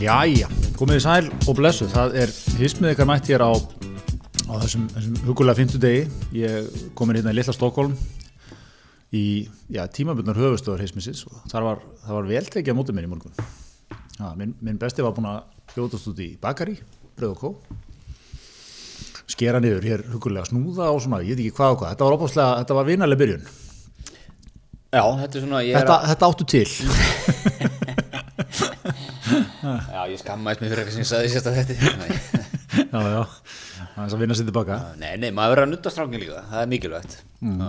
Jæja, komið í sæl og blessu það er hismið ykkar mætt hér á, á þessum, þessum hugulega fimmtudegi ég komin hérna í litla Stokkólm í já, tímabundnar höfustöður hismisins og þar var, það var vel tekið á móti mér í morgun ja, minn, minn besti var búin að fjótast út í bakari bröð og kó skera niður hér hugulega snúða og svona, ég veit ekki hvað og hvað þetta var opaslega, þetta var vinalega byrjun Já, þetta er svona, ég er þetta, þetta áttu til að, já, ég skammaðist mér fyrir eitthvað sem ég saði sérst að þetta. Nei, já, já, það er að vinna sér tilbaka nei, nei maður verður að nutta strákin líka, það er mikilvægt. Mm.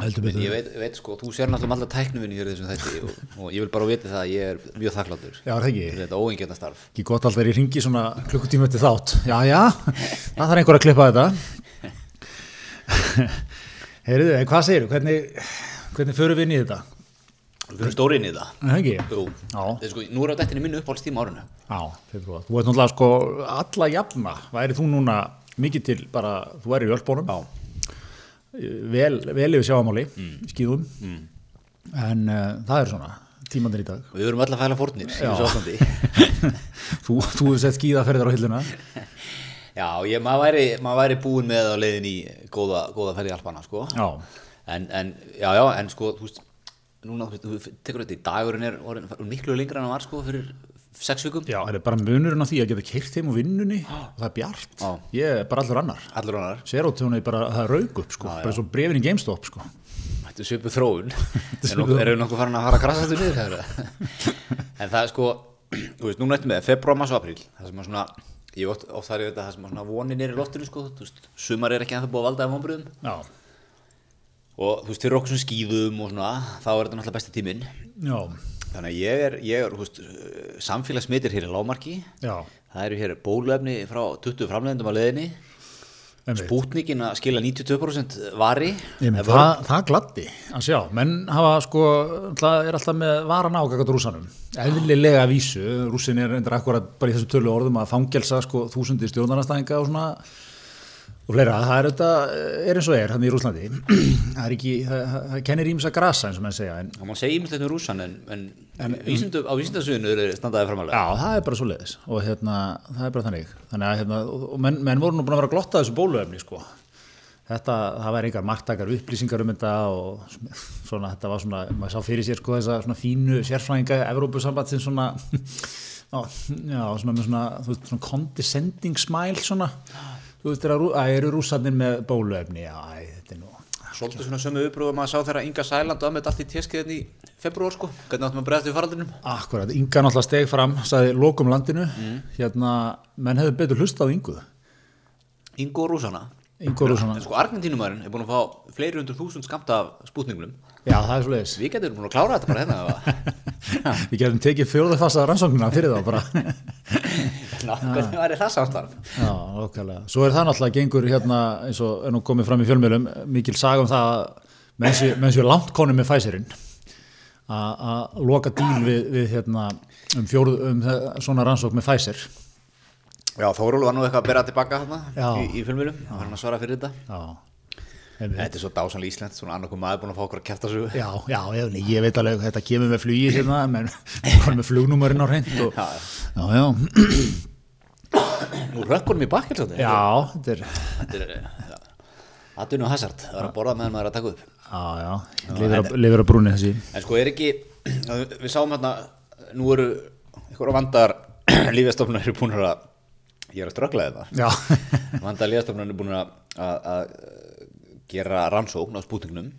heldur betur Ég veit, veit sko, þú sér náttúrulega alltaf tæknuvinni hér í þessum þætti og, og ég vil bara viti það að ég er mjög þakkláttur. Já, er það ekki? fyrir Þetta óengjarnar starf. Ekki gott alltaf er ég ringi svona klukkutíma eftir þátt. Já, já, það þarf einhver að klippa þetta. Heyriðu, en hvað segirðu? Hvernig, hvernig förum við inn í þetta? Við fyrir stórinni í það. Er það Ekki? Jú, Já. þetta er sko, nú er á dættinni minn uppáhaldstíma árinu. Já, februar. Þú ert náttúrulega sko alla jafna. Væri þú núna mikið til bara, þú er í öllbónum. Já. Mm. Vel, vel yfir sjáamáli, skýðum. En uh, það er svona, tímandir í dag. Og við verum öll að fæla fórnir í Já. þessu ástandi. þú, þú hefur sett skýðaferðar á hilluna. Já, ég, maður væri, maður væri búin með á leiðin í góða, góða ferði alpana, sko. Já. en, en, já, já, en sko, þú veist, núna, þú, veist, þú tekur þetta í dagurinn er orðin, orðin miklu lengra en hann var, sko, fyrir sex vikum. Já, það er bara munurinn á því að geta keirt heim úr vinnunni og það er bjart. Já. Ég er bara allur annar. Allur annar, Serotónu er bara, það rauk upp sko, bara svo brefin í GameStop sko. þetta er svipu þróun, er en svipuð okkur- eru nokkuð farin að fara að krasa þetta niður, það er það. En það er sko, þú veist, núna eftir með februar, mars og apríl, það sem er svona, ég oft, oft þar ég veit að það sem er svona vonin er í loftinu, sko, þú veist, sumar er ekki ennþá búið að valda af vonbröðum Já, og þú veist, fyrir okkur sem skýðum og svona, þá er þetta náttúrulega besti tíminn. já, Þannig að ég er, ég er, þú veist, samfélagsmitir hér í lámarki, já, Það eru hér bóluefni frá 20 framleiðendum á leiðinni. einmitt. Spútnikin að skila 92% vari. Einmitt, Það var- það, það gladdi að sjá, menn hafa sko, það er alltaf með varan ágagat rúsanum, eðlilega að vísu, rúsin er endur akkurat bara í þessu tölu orðum að fangelsa sko þúsundir stjórnarnastæðinga og svona og fleira, það er auðvitað, eh, er eins og er þannig í Rúslandi, það er ekki, það, það, það kennir ímsa grasa eins og menn segja en Það má segja ýmislegt um rússan en, en, vísindu, á vísindasöðinu eru standaði framalega. Já, það er bara svo leiðis og hérna, það er bara þannig þannig að hérna, og og menn, menn voru nú búin að vera að glotta að þessu bóluefni sko þetta, það væri einhver marktakar upplýsingar um þetta og sm- svona, þetta var svona maður sá fyrir sér sko þessa svona fínu sérfræðinga Evrópusambandsins svona á, já, svona með svona, þú veist, svona condescending smile svona þú veist, þegar Rú- að eru rússarnir með bóluefni já, æ, þetta er nú Svolítið svona sömu uppröðum að sá þeirra Inga Sæland og Ahmed allt í téskiðin í februar sko. Hvernig áttum að bregðast við faraldinum? Akkurat, Inga náttúrulega steg fram, sagði lokum landinu, hérna, menn hefur betur hlustað á Inguð Ingo og rússana. Ingo Rússon En sko Argentínumærin er búin að fá fleiri hundur þúsund skamt af spútningunum. Já, það er svo leiðis. Við getum búin að klára þetta bara hérna. eða? Við getum tekið fjóðafasta rannsóknina fyrir þá bara. Ná, Hvernig væri það samstarf? Já, okkarlega. Svo er það náttúrulega gengur hérna, eins og er nú komið fram í fjölmjölum, mikil saga um það að menns ég- menns ég er langt konum með Pfizerinn að að loka díl við, við hérna, um, fjóruð, um þe- svona rannsókn með Pfizer. Já, Þórólu var nú eitthvað að bera tilbaka hérna Já. í, í filmilum. Það var hann að svara fyrir þetta. Já, einmitt. Þetta er svo dásanlega Ísland, svona annarkum maður búin að fá okkur að kæfta svo. já, já ég, ég veit alveg þetta kemur með flugi hérna, menn konum með flugnúmerinn á hreint og Já. já, já, Nú rökkunum í bakkjálf svolítið. já, þetta er, Þetta er, það er nú hasard, það er að borða meðan maður er að taka upp. já, já, lifir að- lifir að brúni þessi. En sko er ekki, við sáum hérna, nú eru einhverja vandar lífjastofnar eru búin að, hérna. ég er að ströggla þetta, Já, vandar lífjastofnar eru búin að, að, að gera rannsókn á spútingnum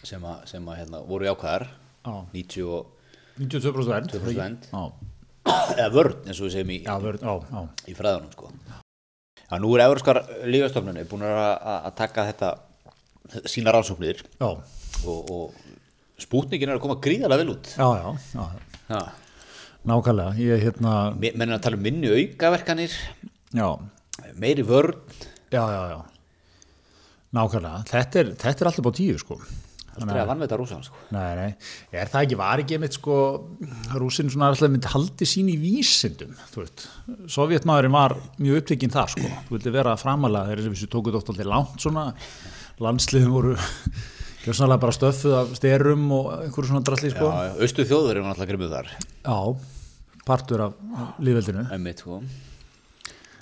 sem að, sem að hérna, voru jákvæðar, Já. 90 og, 92% vernd 92% vernd. Já, eða vörn eins og við segjum í, já, vernd, já, já. í fræðunum sko. Já, nú er Euróskar lífjastofnunni búin að, að að taka þetta sína rannsóknir Já, og, og spútningin er að koma gríðarlega vel út. já, já, já. Ja. Nákvæmlega, ég hérna Menn er að tala um minni aukaverkanir, Já, meiri vörn, já, já, já Nákvæmlega, þetta er, þetta er alltaf bá tíu sko aldrei að vanveita rúsan sko. Nei, nei, er það ekki var ekki einmitt sko rúsin svona alltaf mynd haldi sín í vísindum, þú veit Sovjetmaðurinn var mjög upptekinn þar sko þú vildi vera framalega þegar þessu tóku dótt alltaf langt svona, landsliðum voru gjörsanlega bara stöffuð af styrum og einhverju svona dralli sko Já, austu þjóður er náttúrulega grimmið þar. Já, partur af lífveldinu Emmitt, sko.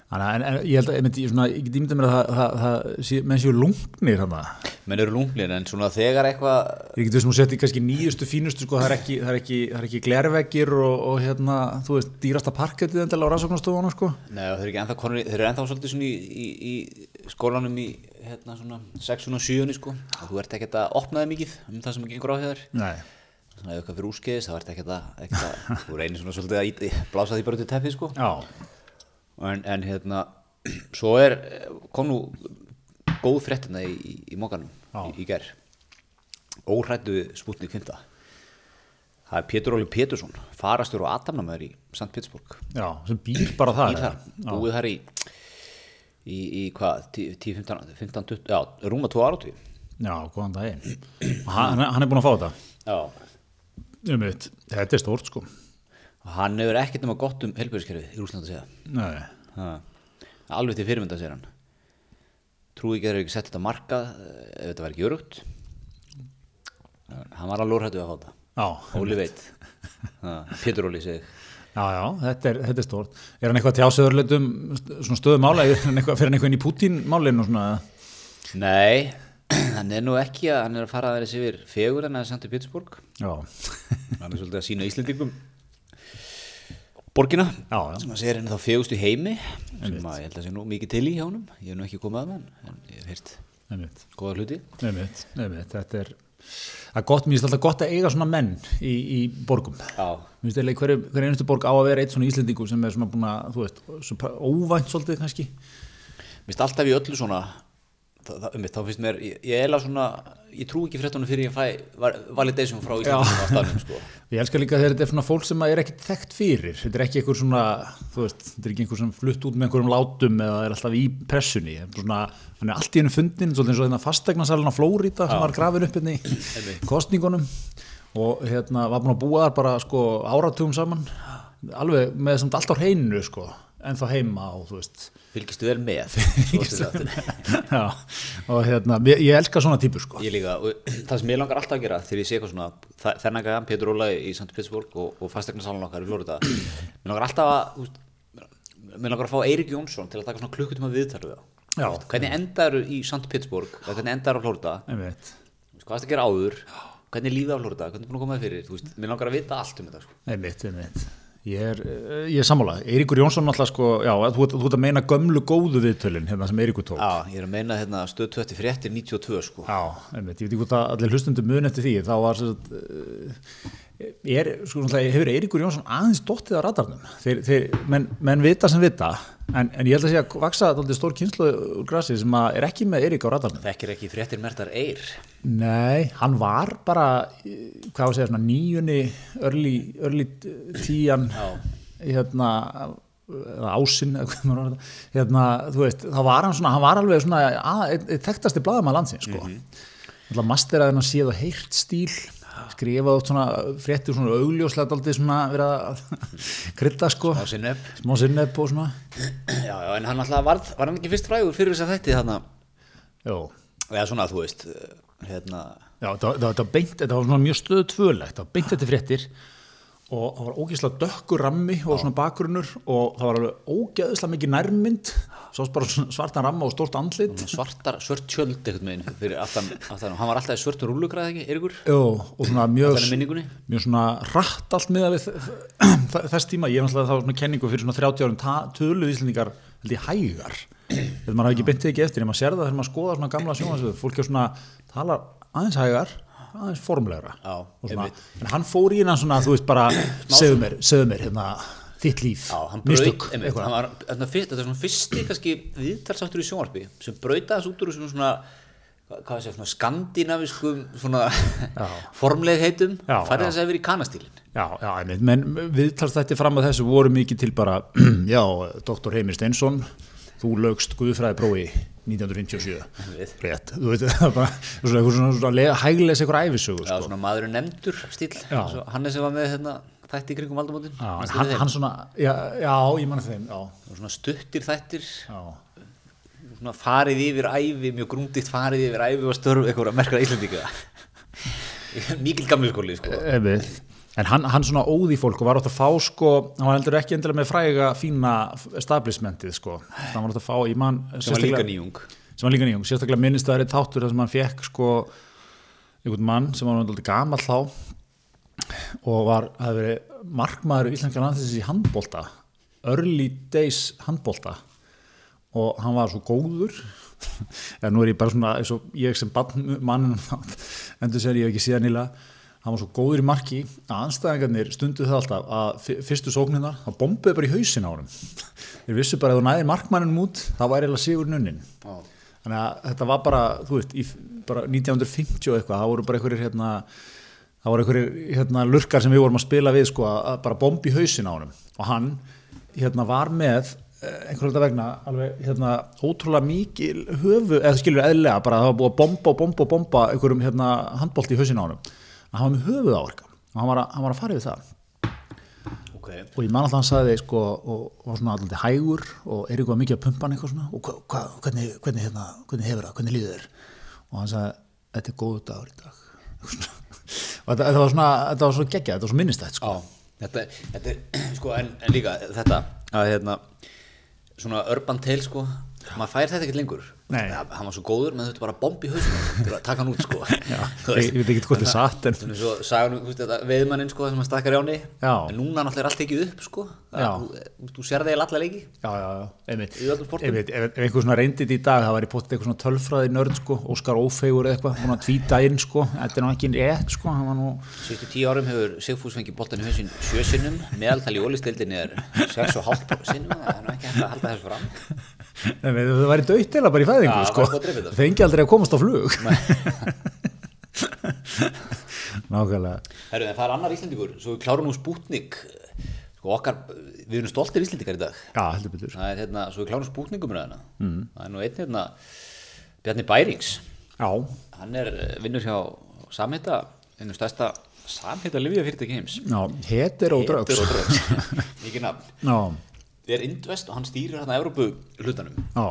Þannig, að- en, en ég held að, einmitt, ég, svona, ég get ímyndað mér að það, það, það sé, menn séu lungnir hann Menn eru lunglir, en svona þegar eitthvað, ég get þessum að setja kannski nýjustu fínustu sko, það er ekki, það er ekki, það er ekki glerveggir og, og hérna, þú veist, dýrasta parkettið endala á rannsóknarstofana sko Nei, og þeir eru ekki ennþá konur, þeir eru ennþá svolítið svona í, í, í skólanum í hérna svona 6 og 7 sko. Og Þú ert ekkert að opna þeim mikið um það sem gengur á hjá þér. Nei, Svona ef eitthvað fyrir úrskeiðis, þá ert ekkert að, ekkert að, þú reynir svona svolítið að ít, blása því bara út í teppið sko. já, En, en hérna, svo er, kom nú góð fréttina í, í, í mókanum Já. í, í ger. Óhrættu spútni kvinda. Það er Pétur Óli Pétursson, farastur og atamnamæður í St. Petersburg. já, sem býr bara það í þar, búið þar í í, í hvað, 10, 10, 15, 15, 20 já, rúma 2 áratví Já, góðan daginn Og hann, hann er búin að fá þetta já, um eitt, þetta er stórt sko og hann hefur ekkert nema gott um helbjörnskerfið í Rúsland að segja Nei, ha. alveg til fyrirmynda segir hann trúi ekki að þeir eru ekki sett þetta á markað eh, ef þetta var ekki örugt hann var alveg úrhættu að fá þetta já, Óli veit Ha, Pétur Óli segi já, já þetta, er, þetta er stórt Er hann eitthvað tjásöðurleitum um svona stöðu mála, er hann eitthvað, fer hann eitthvað inn í Putin málinu og svona nei, hann er nú ekki að hann er að fara að vera sér yfir fegur hann að senda til Pittsburgh Já, hann er svolítið að sína Íslendingum borgina Já, já. sem að segja henni þá fegustu heimi sem að ég held að sé nú mikið til í hjá honum ég hef nú ekki komið að hann en ég hef heyrt um eitt góða hluti um eitt, um eitt, þetta er Það er gott, mér finnst alltaf gott að eiga svona menn í, í borgum já, Mér finnst eiginlega hverju hver einustu borg á að vera eitt svona Íslendingu sem er svona búin að, þú veist, svo pa- óvænt svolítið kannski mér finnst alltaf í öllu svona það, það, um, þá finnst mér, ég, ég eila svona ég trú ekki fréttunum fyrir ég fæ var, validation frá Íslendingum á staðnum sko. Ég elska líka þegar þetta er svona fólk sem er ekkit þekkt fyrir, þetta er ekki einhver svona, þú veist, þetta er ekki einhver sem flutt út með einhverjum látum eða er alltaf í pressunni, Þetta er svona, hann er allt í hennu fundin, svolítið eins og hérna þetta fastegnasalina Flórida sem var grafin upp hérna í kostningunum og hérna var búin að búa þar bara sko áratugum saman, alveg með samt allt á hreinu sko, en þá heima og þú veist, fylgistu vel með svo ertu þáttur. já, og hérna, ég, ég elska svona típur sko. Ég líka, og það sem ég langar alltaf að gera þegar ég sé eitthvað svona, þa- þennan gæðan Pétur Óla í St. Petersburg og, og fastegnasalun okkar í Florida, mér langar alltaf að úst, mér langar að fá Eirik Jónsson til að taka svona klukkutíma viðtalið á Já. hvernig endaru í St. Petersburg eða hvernig endaru á Florida, Einmitt. Þú veist, hvað varst að gera áður hvernig er lífið á Florida, hvernig er búin að koma þér fyrir Þú veist, mér langar að vita allt um þetta sko. Einmitt, einmitt. Ég er, eh, ég er sammála. Eiríkur Jónsson náttúrulega sko, já, þú, ert- þú ert að meina gömlu góðu viðtölin hérna sem Eiríkur tók. Já, ég er að meina hérna stöð 20 fréttir 92 sko. Já, einmitt. Ég veit ekki hvort að allir hlustundum mun eftir því. Þá var svo að, er, sko, náttúrulega, hefur Eiríkur Jónsson aðeins dottið á radarnum. Þeir, þeir, menn, menn vita sem vita, en, en ég held að sé að vaksa þetta stór kynslu úr grasi sem að er ekki með Eirík á radarnum. Þekkir ekki fréttir mertar eir Nei, hann var bara, eh, hvað á að segja, svona nýjunni, örli, örli tíjan, Já. hérna, eða ásinn, eða hvað maður orðar þetta, hérna, þú veist, þá var hann svona, hann var alveg svona, að, einn- einn þekktasti blaðamaður landsins, sko. Þannig að masteraði hann að séð og heyrt stíl, skrifaði út svona fréttir svona augljóslega aldrei svona verið að krydda, sko, á sinni upp smá sinneb og svona. Já, já, en hann alltaf var, var hann ekki fyrst frægur fyrir þess að þetta þannig Jó. eða svona þú veist eh, hérna, Já, þetta var- þetta var beint, þetta var svona mjög stöðu tvölegt, það var beint þetta fréttir og það var ógeðslega dökkur rammi og svona bakgrunnur og það var alveg ógeðslega mikið nærmynd, sást bara svona svartan ramma og stórt andlit. svartar, svört tjöld einhvern veginn fyrir aftan, aftan hann var alltaf í svörtum rúlugræð ekki, Eirikur Jó, og svona mjög, þannig minningunni mjög svona rætt allt miða við þ- þess tíma, ég er náttúrulega það var svona kenningu fyrir svona 30 árum ta- töluðu íslendingar held ég hægar, þegar maður hafi ekki beint tekið eftir, en maður sér það þegar maður skoða svona gamla sjónvarsöðu, fólk er svona, talar aðeins hægar, aðeins formlegra. Já, Og svona, einmitt. en hann fór í hennan svona, þú veist bara segðu mér, segðu mér hérna, þitt líf, Já, hann braut, mistök einmitt, hann var, þarna fyrst, þetta er svona fyrsti kannski viðtalsáttur í sjónvarpi sem brautaðast út úr svona, svona hvað hvað sé, svona skandinaviskum svona formlegheitum Já, færði já. þess að yfir í kanastílin já, já, einmitt, menn viðtalst þetta fram að þessu voru mikið til bara já, doktor Heimir Steinsson þú lögst guðfræði 1957 Einmitt. rétt, þú veit, það er bara svona, svona, svona, svona le- hægles eitthvað æfisögu Já, sko. svona maður er nefndur stíl Já. Svo Hannes sem var með hérna, þætti í kringum aldamótin já, en Manstu hann, þeim? hann svona, já, já, ég manna þeim já, Og svona stuttir þættir já, svona farið yfir æfi, mjög grúnditt farið yfir æfi og störf einhverja merkra íslendinga Mikil gamli skóli sko. einmitt En hann, hann svona óði fólk og var átt að fá sko, hann var heldur ekki endilega með fræga fína establishmentið sko. Þannig var átt að fá í mann sem var líka nýjung sem var líka nýjung, sérstaklega minnist það er tátur þar sem hann fekk sko einhvern mann sem var náttúrulega gamall þá og var, hafði verið markmaður íslenska landsins í handbolta early days handbolta og hann var svo góður eða nú er ég bara svona eins og ég sem barn mannum endur sér ég hef ekki síðan nýla hann var svo góður í marki að anstæðingarnir stunduð það alltaf að fi- fyrstu sóknirnar það bombuði bara í hausin á honum þeir vissu bara að þú næði markmannum út það væri eiginlega sigur nunnin þannig að þetta var bara, þú veist, í, bara 1950 og eitthvað, það voru bara einhverjir hérna, það voru einhverjir hérna lurkar sem við vorum að spila við sko að að bara bombi hausin á honum og hann hérna var með eh, einhverjum þetta vegna alveg hérna ótrúlega mikil höfu, eða skilur eðlega bara að það var búið að bomba og bomba og bomba einhverjum hérna handbólt í hausin á honum að hann var með höfuð áverka og hann var að, hann var að fara yfir það ok, og ég man alltaf hann sagði sko, og og var svona alltaf hægur og er eitthvað mikið að pumpa hann eitthvað svona og hva, hva, hvernig, hvernig, hérna, hvernig hefur það, hvernig líður þér og hann sagði, þetta er góðu dagur í dag og þetta, þetta var svona þetta var svo geggjað, þetta var svo minnistætt sko. á, þetta, þetta er sko, en, en líka þetta að hérna svona urban tale sko maður fær þetta ekkert lengur Nei. Það- hann var svo góður, menn þetta bara bomb í hausinu til að taka hann út sko Þú ég, veist. ég veit ekki hvort þetta er satt en Þannig svo sagan, þú veist, þetta veiðmannin sko sem að stakkar í áni Já. en núna náttúrulega er allt ekki upp sko Það- Já. þú, þú sér þeir allar leiki Já, já, já, einmitt, Í öllum sportum. einmitt ef, ef einhver svona reyndið í dag, það var í potið eitthvað svona tölfræði nörd, sko, Óskar Ófeigur eða eitthvað, hún að tvíta inn, sko, þetta er nú ekki rétt, sko, hann var nú, Sýttu tíu árum hefur Sigfús fengið boltan í hausin sjö sinnum, meðaltal í ólistildin er 6,5 sinnum, það er nú ekki hægt að halda þessu fram. Nei, nei, það væri dött eða bara í fæðingu, Já, það sko. væri búið að dreifa þetta. Fengi aldrei að komast á flug. Nákvæmlega. Herru, en það er annar Íslendingur, svo við klárum nú Sputnik, sko okkar, við erum stoltir Íslendingar í dag. Já, heldur betur. Það er hérna, svo við klárum Sputnikum með hérna. Mm. Það er nú einn hérna, Bjarni Bærings, Já, hann er eh, vinnur hjá Samhita, einu stærsta Samhita Livia fyrirtæki heims. já, heter og draugs. Heitur og Draugs, mikið nafn. Já, Þið er Indvest og hann stýrir hérna Evrópu hlutanum já,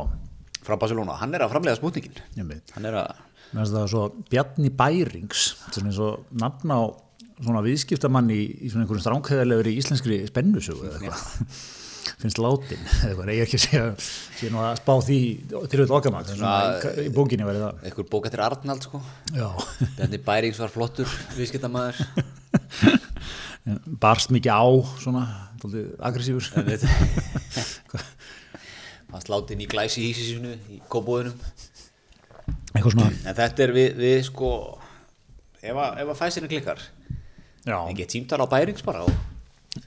frá Barcelona, hann er að framlega Sputnikin. ég veit. Hann er að Mér finnst það svo Bjarni Bærings, sem er svo nafn á svona viðskiptamann í, í svona einhverjum stránkæðarlegur í íslenskri spennusögu eða eitthvað. Finnst látin, eða eitthvað, Nei, ég er ekki að segja, ég er nú að spá því til auðvitað okkamætt, svona í, í bókinni verið það. einhver bók eftir Arnald sko Já. Bjarni Bærings var flottur viðskiptamaður barst mikið á svona, daldið aggressífur hann slátti inn í glæsi hísi sínu í kóbóðunum eitthvað svona en þetta er við, við sko ef að, ef að fæsirinn klikkar en já. get tímtal á Bærings bara og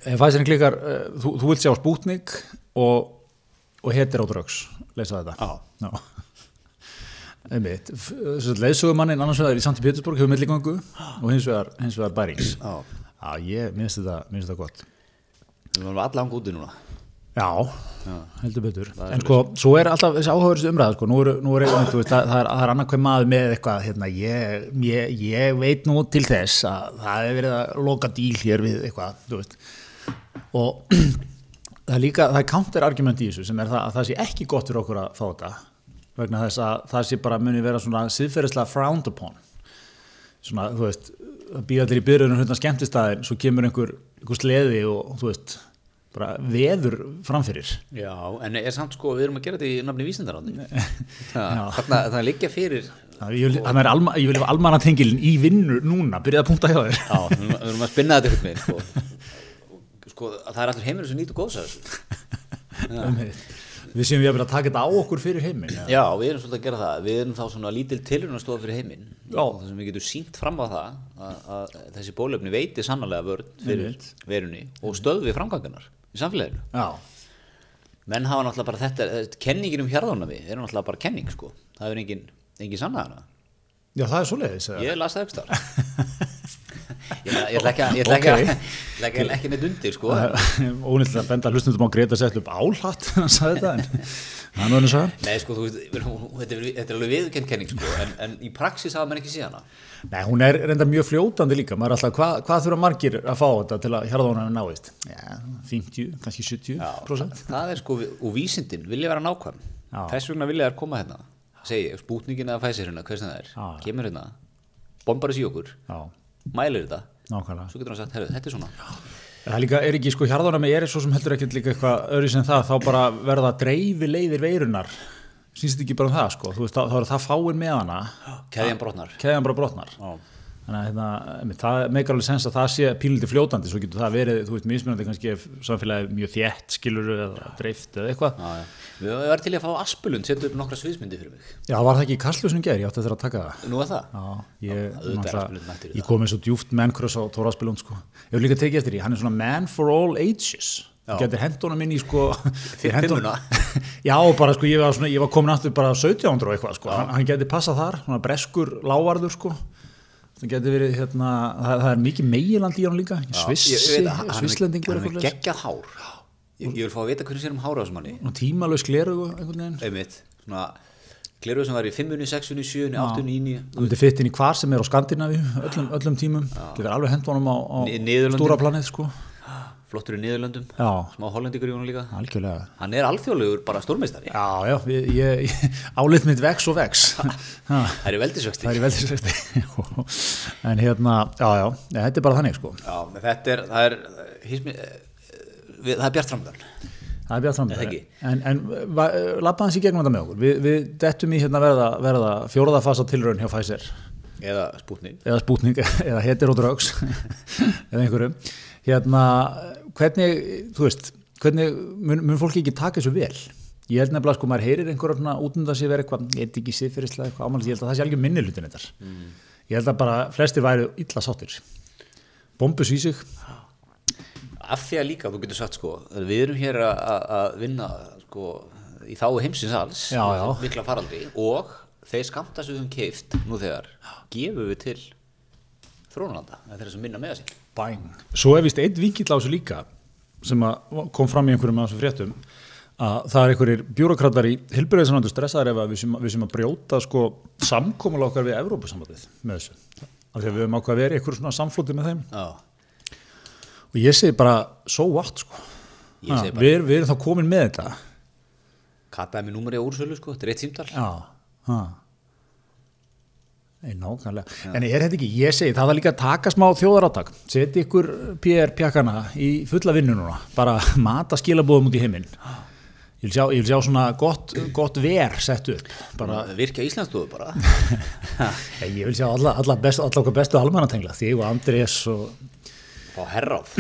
ef fæsirinn klikkar, uh, þú, þú vilt sjá spútnik og, og hetir á draugs leysa þetta já. einmitt eh, leysögumannin annars vegar í Sankt Pétursborg hefur milligöngu og hins vegar, hins vegar bærings Já. já, ég minnst þetta, minnst þetta gott við varum allan úti núna Já, heldur betur En sko, svo er alltaf þessi áhugaverðis umræða sko. Nú eru, nú eru, einmitt, þú veist, það, það er, það er annað hver maður með eitthvað hérna, ég, ég, ég veit nú til þess að það hefur verið að loka díl hér við eitthvað, þú veist og það er líka, það er counterargument í þessu sem er það að það sé ekki gott fyrir okkur að fá þetta vegna þess að það sé bara muni vera svona siðferðislega frowned upon svona, þú veist, að býða allir í byrjunum hérna skemmtistæðin, svo kemur einhver, einhver sleði og, þú veist, bara veður framfyrir. já, en er samt sko við erum að gera þetta í nafni vísindarándi Já. þannig að það liggja fyrir Það- Ég vil, þannig er alma, ég vil hafa almanatengilin í vinnu núna, byrjaði að punkta hjá þér. já, við erum- við erum að spinna þetta ykkur með sko. sko, það er allir heimur sem nýtu góðs að þessu Um Við séum við að byrja að taka þetta á okkur fyrir heiminn. eða? Já, við erum svolítið að gera það. Við erum þá svona lítil tilurinn að stóða fyrir heiminn. Já. Og Það sem við getum sínt fram á það að, að þessi bólefni veiti sannlega vörn fyrir verunni og stöðvi framgangarnar í samfélaginu. Já, Menn hafa náttúrulega bara þetta, þetta kenningin um hjarðunami er náttúrulega bara kenning sko. Það er engin, engin sannlega hana. já, það er svo leiðis. Ég las það aukstar. Ég ætla- ég ætla ekki að, ég ætla ekki að, Ok. ég ætla ekki að ekki neitt undir sko. Ónýtt að benda hlustundum á Greta Settlum álhatt, hann sagði þetta, en hann var henni svo. Nei sko, þú veist, hún- þetta er, þetta er alveg viðkend kenning sko, en, en í praxis hafa menn ekki síðan hana. Nei, hún er reynda mjög fljótandi líka, maður er alltaf, hva, hvað þurfa margir að fá þetta til að hjarðónarinn náist? Já, 50, kannski 70%. það, það er sko, og vísindin vilja vera nákvæm Já. þess vegna vilja þær koma hérna segi ég, spútningin eða fæsir hérna, hversin það er Já, já. kemur hérna, bombar þessi í okkur Já, mælir þetta nákvæmlega. svo getur hann sagt, herru, þetta er svona Það er líka, er ekki, sko, hjarðanami er svo sem heldur ekkert líka eitthvað öðru sem það, þá bara verða dreifi leiðir veirunar, sínst þetta ekki bara um það, sko, þú veist, þá, þá er það fáin með hana, keðjan brotnar keðan bara brotnar. Já. Þannig að hérna, einmitt, það meikar alveg sens að það sé pílindi fljótandi, svo getur það verið, þú veist, mismunandi kannski ef samfélagið er mjög þjætt, skilur eða dreift eða eitthvað. Já, já. Við við varum til í að fá Aspulund, setja upp nokkra sviðsmyndi fyrir mig. Já, var það ekki í kastljósinu ger, ég átti eftir að taka það. Nú er það? Já, ég, auðvitað er um náttúrulega- Aspilund mættur í ég kom eins og djúft mennkröss á Tóra Aspilund sko. Ég hef líka tekið eftir því, hann er svona man for all ages Já. getur hendunum inn í sko Fimm- ég henti honum- fimmuna. já bara sko ég var, svona, ég var komin aftur bara 1700 og eitthvað sko, hann, hann getur passað þar svona breskur lávarður sko það getur verið hérna það, það er mikið meiland í hann líka svissi, svisslendingur eitthvað. Hann er eitthvað geggjað hár. Ég, ég vil fá að vita hvernig sér um hára á þessum manni. tímalös gleru einhvern veginn Einmitt, svona gleruð sem var í 5, 6, 7, 8, 9, hann getur fyrt inn í hvar sem er á Skandinavíu öllum, öllum tímum, getur alveg hendunum á, á Í Niðurlöndum. stúra planið sko flottur í Niðurlöndum, Já. smá hollendingur í honum líka. Algjörlega. Hann er alþjóðlegur bara stórmeistari. Já, já, ég, ég, álið mitt vex og vex. Ha, Það er veldisvöxti. það er í veldisvexti. en hérna, já, já, ja, þetta er bara þannig sko. Já, menn þetta er, það er, hismi, við, það er Bjart Ramdan. Það er bjátt Er það framöður. ekki? En, en va- labba hans í gegnum þetta með okkur. Vi, við dettum í hérna verða, verða fjóraða fasa tilraun hjá Pfizer Eða Sputnik. eða Sputnik eða heterodrugs eða einhverjum. Hérna, hvernig, þú veist, hvernig mun, mun fólki ekki taka þessu vel? Ég held nefnilega sko, maður heyrir einhverjum útnum það sé verið eitthvað, ég veit ekki siðferðislega eitthvað ámælst, ég held að það sé algjör minni hlutin þetta. Ég held að bara flestir væri illa sáttir. Bombus í sig, Af því að líka, þú getur sagt sko, við erum hér að- að að vinna sko, í þáu heimsins alls, Já, já. mikla faraldri og þeir skamta sem við höfum keift nú þegar, gefum við til þrónulanda, það er þeir sem minna með þessi. bæn. Svo er vist einn vinkill á þessu líka, sem að kom fram í einhverjum af þessum fréttum, að það er einhverjir bjúrokratar í hilbriðisannandu stressaðar ef að við sem, við sem að brjóta sko samkomulega okkar við Evrópusambandið með þessu. Af því að við höfum ákvað að vera í einhverjum svona samflóti með þeim. Já, Og ég segi bara, so what sko. Ég Ha, segi bara- við, erum- við erum þá komin með þetta. kattaði með númeri á úrsölu sko, þetta er eitt símdal. Já, ha. Nei, nákvæmlega. En er þetta ekki, ég segi, það var líka að taka smá þjóðarátak. Seti ykkur PR pjakkana í fulla vinnu núna. Bara mata skilabóðum út í heiminn. Ég vil sjá, ég vil sjá svona gott, gott ver sett upp. Bara, Virkja Íslandsstofu bara. ég vil sjá alla, alla, best, alla okkar bestu almannatengla. Þig og Andrés og Fá herráð.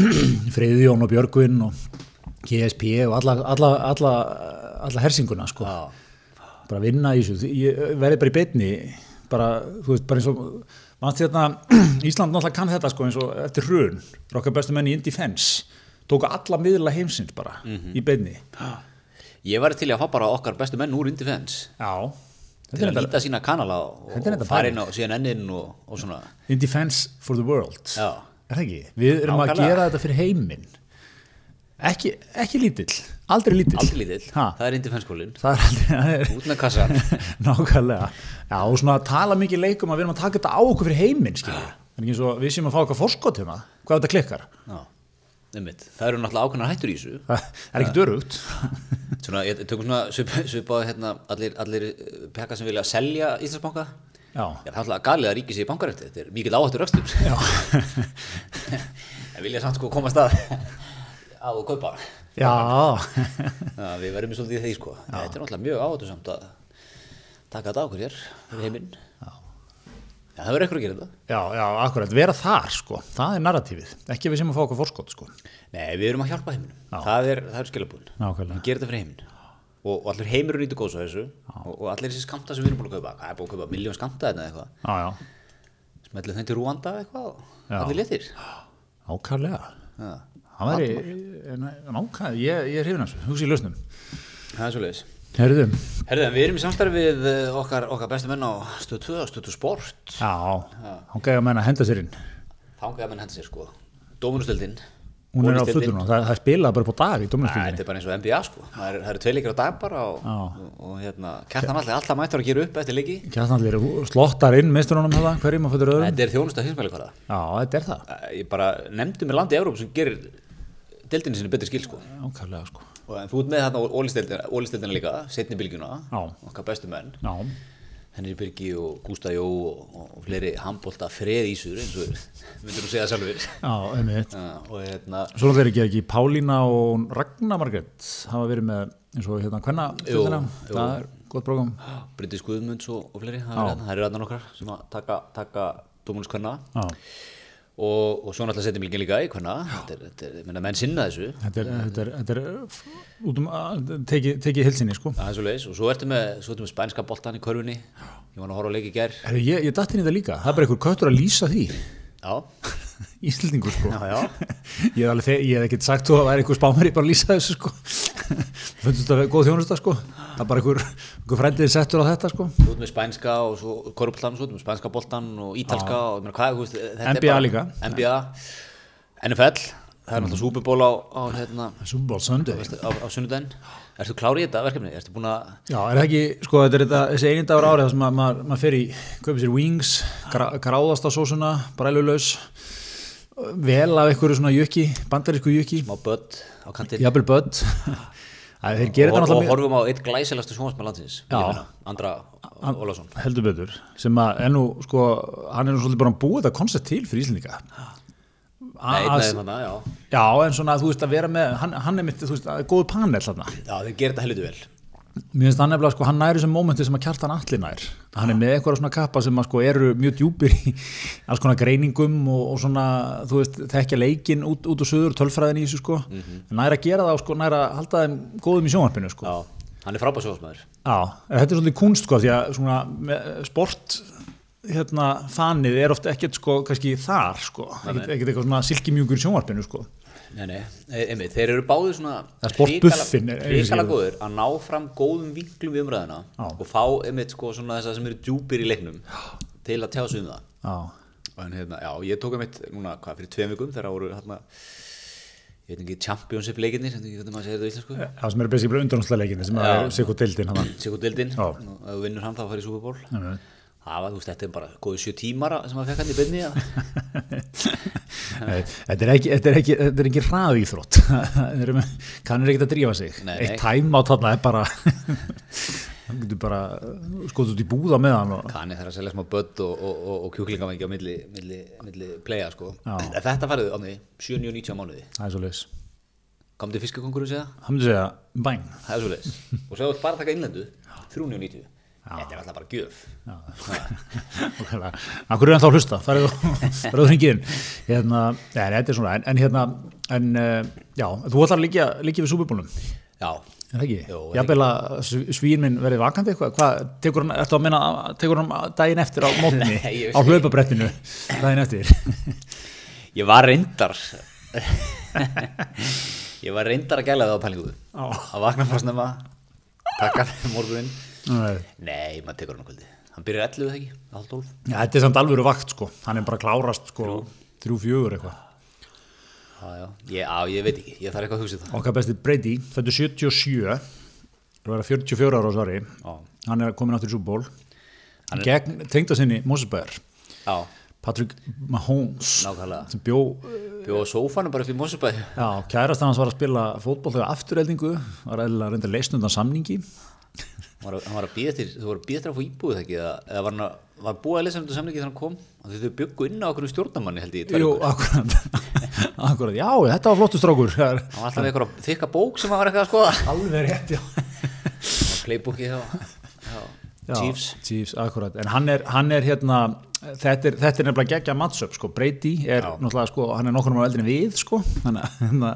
Freyðjón og Björgvin og KSP og alla, alla, alla, alla hersinguna sko. Já. bara vinna í þessu ég verði bara í beinni bara, þú veist, bara eins og mannst hérna, Ísland náttúrulega kann þetta sko eins og eftir hrun, okkar bestu menn í Indefense tóku alla miðla heimsins bara í beinni Ég var til í að fá bara okkar bestu menn úr Indifens já, þetta til er að þetta líta sína kanala og, Þetta er og þetta fara bara. inn á CNN-in og, og svona. Indefense for the world Já. er það ekki, við erum að Nákvæmlega. gera þetta fyrir heiminn ekki, ekki lítill aldrei lítill, Aldrei lítill, Ha, það er Indifenskólinn. það er aldrei það er, Út með kassan. Nákvæmlega. Já, og svona að tala mikið leikum að við erum að taka þetta á okkur fyrir heiminn, skiljum við. Það er ekki eins og við séum að fá eitthvað forskot hérna, hvað þetta klikkar. Já, einmitt. Það eru náttúrulega ákveðnar hættur í þessu. Það er ekki dörugt. Svona, ég tökum svona svip- svipað hérna, allir, allir pekka sem vilja selja Íslandsbanka. Já. Já, það er alltaf galið að ríkið sé í bankarefti. Þetta er mikill áhættur öxtum. Já. en vilja samt sko komast að á að kaupa. Já. Já, við verðum í svolítið í því sko. Þetta er náttúrulega mjög áhættur samt að taka þetta á okkur hér fyrir heiminn. Já. það verður ekkur að gera þetta. Já, já, akkurat. Vera þar, sko. Það er narratífið. Ekki að við séum að fá eitthvað forskot, sko. Nei, við erum að hjálpa heiminum. Já. Það er, það er skilabúin. Nákvæmlega. Við gerum þetta fyrir heiminn. Og, og allir heimur nýttu góðs á þessu. Og, og allir þessi skamta sem við erum búin að kaupa. Það er búin að kaupa miljón skamta þetta eitthvað. Já, já. Smellu þeim til Rúanda eitthvað. Já. Allir léttir. Ákvæmlega. Já. Það væri, nákvæmlega, ég, ég er hrifin af þessu. Hugsa í lausnum. Það er svo leiðis. Herðum. Herðan, við erum í samstarfi við eh, okkar, okkar bestu menn á stöð 2 og stöð 2 sport. Já. Hún gæði að menna henda sér inn. Þangaði að menn henda sér sko. Dómunustöldin. Hún er á fullunum. Það, það spilaði bara upp á dag í Þetta domnastöldinni. er bara eins og NBA sko. Það eru er tveileikir á dag bara og, Já. og, og hérna, kjartan allir, alltaf mættur að gera upp eftir leiki. Kjartanlir slottar inn meisturunum hérna, hverjum að fötur öðrum. Þetta er þjónust að hinsmæli hvaða. Já, þetta er það. ég bara nefndi mér landi í Európa sem gerir deildinu sinni betri skil sko Ákvæmlega sko. og en þú ert með þarna ólisteildina líka, setni bylgjuna Já. okkar bestu menn, Já, Henry Birgi og Gústa Jó og, og fleiri handbólta freðísur eins og myndur þú segja sjálfur Já, einmitt. Já, og hérna Svo þeir ekki ekki Pálína og Ragnar Margrét hafa verið með eins og hérna hvenna Jú, jú. það er gott prógram Bryndis Guðmunds og, og fleiri hérna, það eru- það eru aðna nokkrar sem að taka, taka dómunskvenna Já, og, og svo náttúrulega setjum líka líka í kvenna þetta er, þetta er, ég meina, menn sinna þessu þetta er, þetta er, þetta er f- út um að tekið teki hilsinni sko Það er svo leiðis og svo ertu með, svo ertu með spænska boltan í körfunni Ég var nú að horfa á leik í gær Heru, ég, ég datt inn í þetta líka, það er bara einhver köttur að lýsa því Já, Íslendingur sko já, já Ég hef alveg þe- ég hef ekkert sagt þú að það er einhver spámeri bara að lýsa þessu sko Fundum þetta góð þjónusta sko Það er bara einhver, einhver frændið settur á þetta sko Svo ertu með spænska og svo körfbóltan Svo ertu með spænska boltan og ítalska og, ég meina, hvað, þú veist, þetta er NBA bara- líka. NBA, NFL Það er náttúrulega súpiból á, á, hérna, Super Bowl Sunday á, á sunnudaginn Ertu klár í þetta verkefni? Ertu búin að Já, er það ekki, sko, þetta er þetta, þessi einin dagur árið þar sem maður mað, mað fer í, kaupir sér wings, gra, gráðast á sósuna, brælulaus, vel af einhverju svona jökki, bandarísku jökki, má börn á kantinn jafnvel börn, að þeir gera þetta og, og, náttúrulega horfum á eitt glæsilegstu sjónvarsmann landsins ég Já. meina, Andra Ólafsson mjög heldur betur, sem að, en nú, sko, hann er nú svolítið bara að búa þetta koncept til fyrir Íslendinga. Nei, Að- nei, þannig, já Já, en svona, þú veist, að vera með, hann, hann er mitt, þú veist, að góðu panel þarna. Já, þeir gerir þetta helviti vel Mér finnst hann nefnilega, sko, hann næri sem mómenti sem að kjartan allir nær. Hann er með einhverja svona kappa sem að sko eru mjög djúpir í alls konar greiningum og, og svona, þú veist, tekja leikin út, út og söður, tölfræðin í þessu, sko. Mm Næri að gera það og sko, næri að halda þeim góðum í sjónvarpinu, sko. Já, hann er frábær sjónvarsmaður Já, en þetta er svolítið kunst, sko, því að svona með- sport, hérna, fanið er oft ekkert, sko, kannski þar, sko. Ekkert, ekkert eitthvað svona silkimjúkur í sjónvarpinu, sko. Nei, nei, e- einmitt, þeir eru báðir svona Það er sportbuffin, er- er- hrikala er- góður að ná fram góðum vinklum við umræðina Já. og fá einmitt sko svona þess sem eru djúpir í leiknum til að tjá sig um það Já, en hérna, já, ég tók einmitt núna, hvað, fyrir tveim vikum þegar voru hérna ég veit ekki, championship leikinni sem ekki hvernig maður segir þetta á íslensku það sem eru basically undanúslega leikinni sem Já. er sikkur deildin, hann. Sigurdildin, Já. ef þú vinnur hann þá að fara í Superból Nei, nei. það var, þú veist, þetta er bara góðu sjö tímara sem að fekk hann í byrni Nei, þetta er ekki, þetta er ekki, þetta er ekki hraði íþrótt kannir ekkert að drífa sig Nei, nei. eitt tæm á þarna er bara hann getur bara skoðt út í búða með hann og, Kani þarf að selja smá börn og, og, og, og kjúklingamengi á milli, milli, milli playa sko. Já. En þetta færðu, Ánni, 7.90 á mánuði það er svo leis kom til fiskakonkurinn segja, hann myndi segja bæn það er svo leis og svo þú ert bara að taka innlendu, 3.90 þetta er alltaf bara gjöf okkur hérna, er hann þá að hlusta það er það hringin hérna, nei, þetta er svona en, en hérna en, eh, já, þú ætlar að líka, líka við súbibúlum já, Er það ekki? Jó, er Jafnvel að sv- svín minn verði vakandi eitthvað, hvað, tekur hann, ertu að minna, tekur hann daginn eftir á mótni, Nei, ég veist á hlaupabrettinu, daginn eftir? ég var reyndar ég var reyndar að gæla það á pælingu Já. að vakna frá snemma taka fyrir morgunin Nei. nei, maður tekur hann á kvöldi hann byrjar 11 þegar ekki, halv 12 Já, þetta er samt alvöru vakt sko, hann er bara að klárast sko, þrjú, fjögur eitthvað. já, já. Ég, á, ég veit ekki, ég þarf eitthvað að hugsa um það Okkar besti Brady, þetta er 77, það verða 44 ára á svari, Já. hann er komin aftur í súból, gegn tengdasinni Mosesbær, já, Patrick Mahomes, nákvæmlega sem bjó bjóða sófanu bara upp í Mosebæði Já, kærast hans var að spila fótból þegar afturreldingu, var eða reynda leysnundan samningi. hann var að- hann var að býða til, þú voru að býða til að fá íbúið það ekki eða, eða var hann að, var búið að lesa um þetta samlingi þegar hann kom og þau byggu inn á okkur stjórnamanni held ég í tvær Jú, vikur. akkurat, akkurat, já, þetta var flottu strákur. Það er hann var alltaf með eitthvað þykka bók sem hann var eitthvað að skoða Alveg rétt, já. Það var playbooki hjá, hjá Chiefs Chiefs, akkurat, en hann er, hann er hérna, þetta er, þetta er nefnilega geggja mattsöp, sko, Brady er náttúrulega, sko, hann er nokkur um eldri en við, sko, þannig að hérna,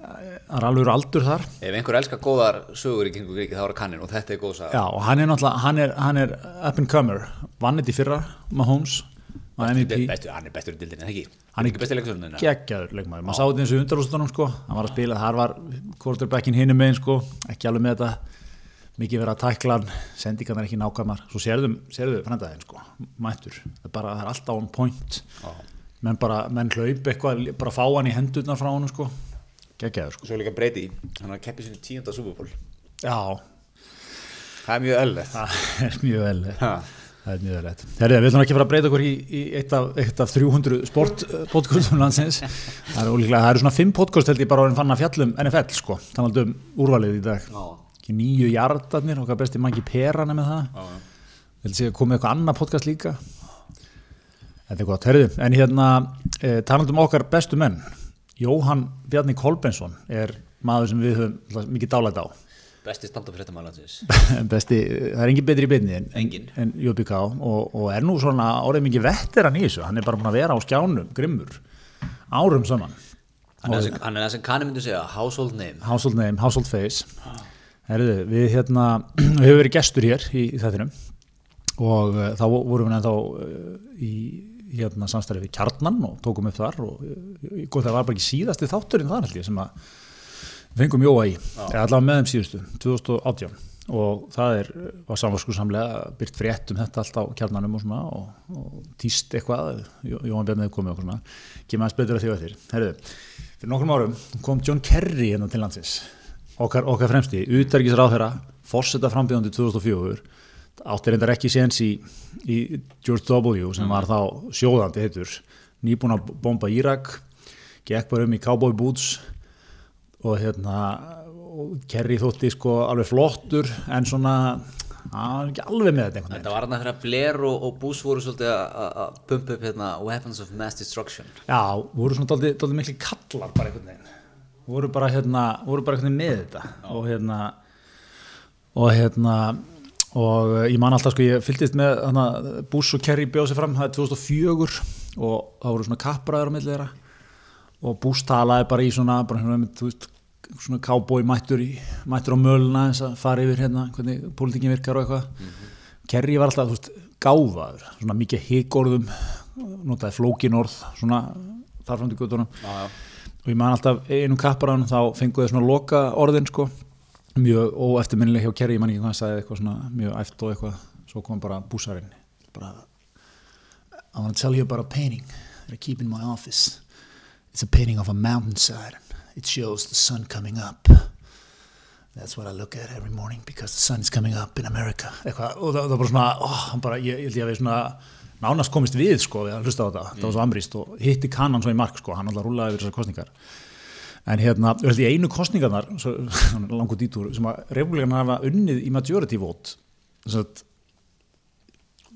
hann er alveg aldur þar. ef einhver elskar góðar sögur í kringu gríki þá er það kannin og þetta er góð sag Já, og hann er náttúrulega, hann er, hann er up and comer, vann þetta í fyrra, Mahomes, var MVP. bestu, hann er bestur í dildinni, ekki? Hann er- ekki bestur í leiksöldinni geggjaður leikmaður, maður sá þetta eins og undarústunum sko, hann var að spila, þar var quarterbackin hinum megin sko, ekki alveg með þetta mikið verið að tækla hann sendingarnar ekki nákvæmar, svo sérðum sérðu frændaðin sko, mættur það er bara, það er alltaf on point menn bara, menn hlaup eitthvað, bara fá hann í hendurnar frá hann sko, geggjaður sko svo er líka breyti, hann er að keppi sinni tíunda Superból já, það er mjög öllett það er mjög vel Ha. það er mjög vel rétt. Herrið, við ætlum ekki að fara að breyta okkur í, í eitt, af, eitt af 300 sportpodcastum eh, landsins það er ólíklega, það eru svona 5 podcast held ég bara orðin fann að fjallum NFL sko, talandi um úrvalið í dag Já. ekki nýju jardarnir, okkar besti mangi perana með það Ég held að sé komið eitthvað annað podcast líka Þetta er gott, herðu En hérna, e, talandum okkar bestu menn Jóhann Bjarni Kolbensson er maður sem við höfum náttúrulega mikið dálæt á Besti standa fyrir þetta mælandsins Besti, það er engin betri í beinni en, Engin. en JBK og, og er nú svona árið mikið vetteran í þessu hann er bara búin að vera á skjánum, grimmur árum saman Hann er það sem- hann er það sem kanni myndi segja, household name household name, household face Herðu, við hérna við höfum verið gestur hér í, í þættinum og uh, þá vorum við ennþá uh, í hérna samstæri við kjarnan og tókum upp þar og uh, gott það var bara ekki síðasti þátturinn þar held ég sem að fengum jóa í, eða allavega með þeim síðustu 2018 og það er, uh, var samvarskursamlega byrt frétt um þetta allt á kjarnanum og svona og, og týst eitthvað, Jó- Jóhann Bjarnið komið okkur svona, kemur aðeins betur að því á þér Herðu, fyrir nokkrum árum kom John Kerry hérna til landsins okkar, okkar fremsti, utarkisráðherra fórseta frambíðandi 2004 átti reyndar ekki séns í, í George W. sem var þá sjóðandi heitur, nýbúin að bomba Írak, gekk bara um í cowboy boots og hérna og Kerry þótti sko alveg flottur en svona, hann var ekki alveg með þetta einhvern veginn. Þetta var hann þegar Blair og, og Bush voru svolítið að- að að pumpa upp hérna Weapons of Mass Destruction Já, voru svona daldið, daldið miklu kallar bara einhvern veginn voru bara hérna, voru bara einhvern veginn með þetta og hérna og hérna og eh, ég man alltaf sko, ég fylgdist með hana, Bush og Kerry bjóð sér fram, það er 2004 og það voru svona kappræður á milli þeirra og Bush talaði bara í svona, bara hérna, einmitt, þú veist svona cowboy mættur, í, mættur á möluna eins að fara yfir hérna, hvernig pólitíkin virkar og eitthvað Kerry var alltaf, þú veist, gáfaður svona mikið hikorðum, notaði flókin orð, svona þarfandi göttunum Já, já og ég man alltaf einum kapparann þá fengu þau svona loka orðin sko mjög óeftirminnileg hjá Kerry, ég man ekki hvað hann sagði eitthvað svona mjög æft og eitthvað svo kom bara búsarinn bara I want to tell you about a painting that I keep in my office it's a painting of a mountainside it shows the sun coming up that's what I look at every morning because the sun is coming up in America eitthvað, og það, það var bara svona oh, hann bara, ég, ég held ég að við svona nánast komist við sko við að hlusta á þetta, það var svo amrýst og hitti kannan svo í mark sko, hann alltaf rúlaði yfir þessar kostningar en hérna, ég held ég einu kostningarnar svo, langur dítur, sem að republikanar hafa unnið í majority vote þess að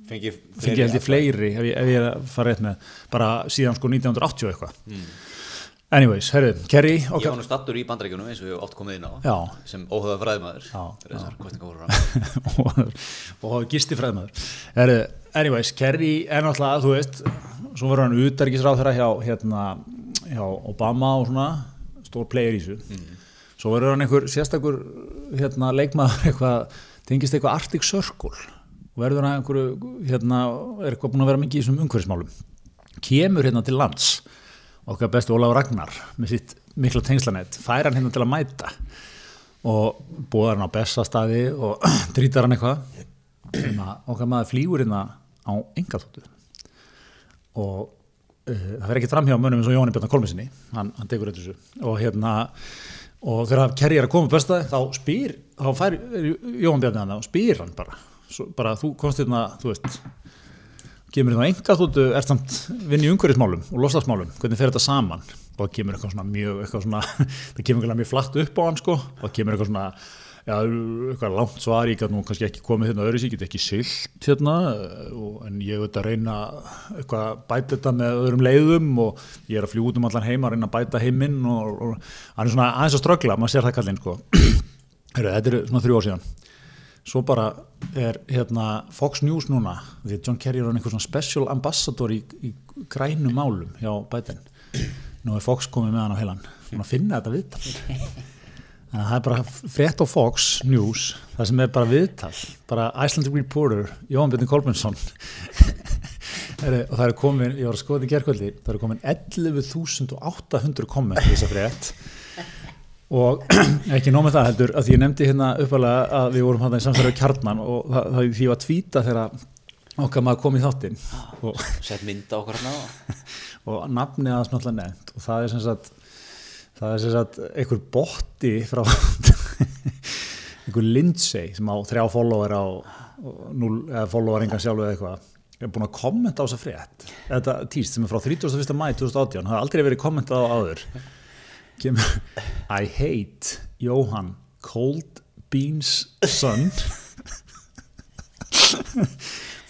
Fengi, fengi held ég fleiri ef ég, ef ég er að fara rétt með bara síðan sko 1980 og eitthvað anyways, herru, Kerry Ég okkar var nú stattur í bandaríkjunum eins og ég hef oft komið inn á Já. sem óhauða fræðmaður Já, þegar þessar kostningar voru fram og hafa gisti fræðmaður herru, anyways, Kerry er náttúrulega, þú veist svo var hann utarkisráð þeirra hjá, hérna, hjá Obama og svona stór player í þessu svo verður hann einhver sérstakur hérna, leikmaður eitthvað, tengist eitthvað Arctic Circle og verður hann einhverju hérna, er eitthvað búin að vera mikið í þessum umhverfismálum kemur hérna til lands okkar bestu Ólaf Ragnar með sitt mikla tengslanett, fær hann hérna til að mæta og búðar hann á bestastaði og drítar hann eitthvað sem að okkar maður flýgur hérna á engaþóttu og uh, það verður ekki framhjá mönnum eins og Jóni Bjarnar Kolminsinni hann, hann tekur þetta þessu og hérna og þegar Kerry er að koma besta þá spyr, þá fær Jón Bjarnar hann og spyr hann bara Svo, bara þú komst hérna, þú veist kemur hérna á enga þóttu er samt vinn í umhverjismálum og loslasmálum hvernig fer þetta saman og það kemur eitthvað svona mjög eitthvað svona, það kemur eitthvað mjög flatt upp á hann sko og það kemur eitthvað svona já, eitthvað langt svar, ég gæti nú kannski ekki komið hérna öðru sér, ég get ekki silt hérna eh, og, en ég veit að reyna eitthvað að bæta þetta með öðrum leiðum og ég er að fljúa út um allan heim að reyna að bæta heiminn og, og hann er svona aðeins að ströggla, maður sér það kallinn sko Heru, þetta er svona þrjú ár síðan svo bara er hérna Fox News núna, því að John Kerry er hann einhver svona special ambassador í, í grænum málum hjá Biden nú er Fox komið með hann á heilan hann að finna þetta viðtal þannig að það er bara frétt á Fox News það sem er bara viðtal bara Icelandic Reporter, Jóhann Björn Kolbjörnsson Heru, og það er komin, ég var að skoða þetta í gerkvöldi það eru komin 11.800 komment í þessa frétt og ekki nóg með það heldur að því ég nefndi hérna uppalega að við vorum hann í samfæru kjarnan og það, það því ég var að tvíta þegar okkar maður kom í þáttinn og, Sett mynda okkur hérna hann á og nafni aðeins náttúrulega nefnt og það er sem sagt það er sem sagt einhver botti frá einhver Lindsay sem á þrjá follower á og núl, eða follower engan sjálf eða eitthvað er búin að kommenta á þessa frétt þetta týst sem er frá 31. mæ 2018 það hafði aldrei verið kommentað á áður kemur I hate Johan Cold Beans Son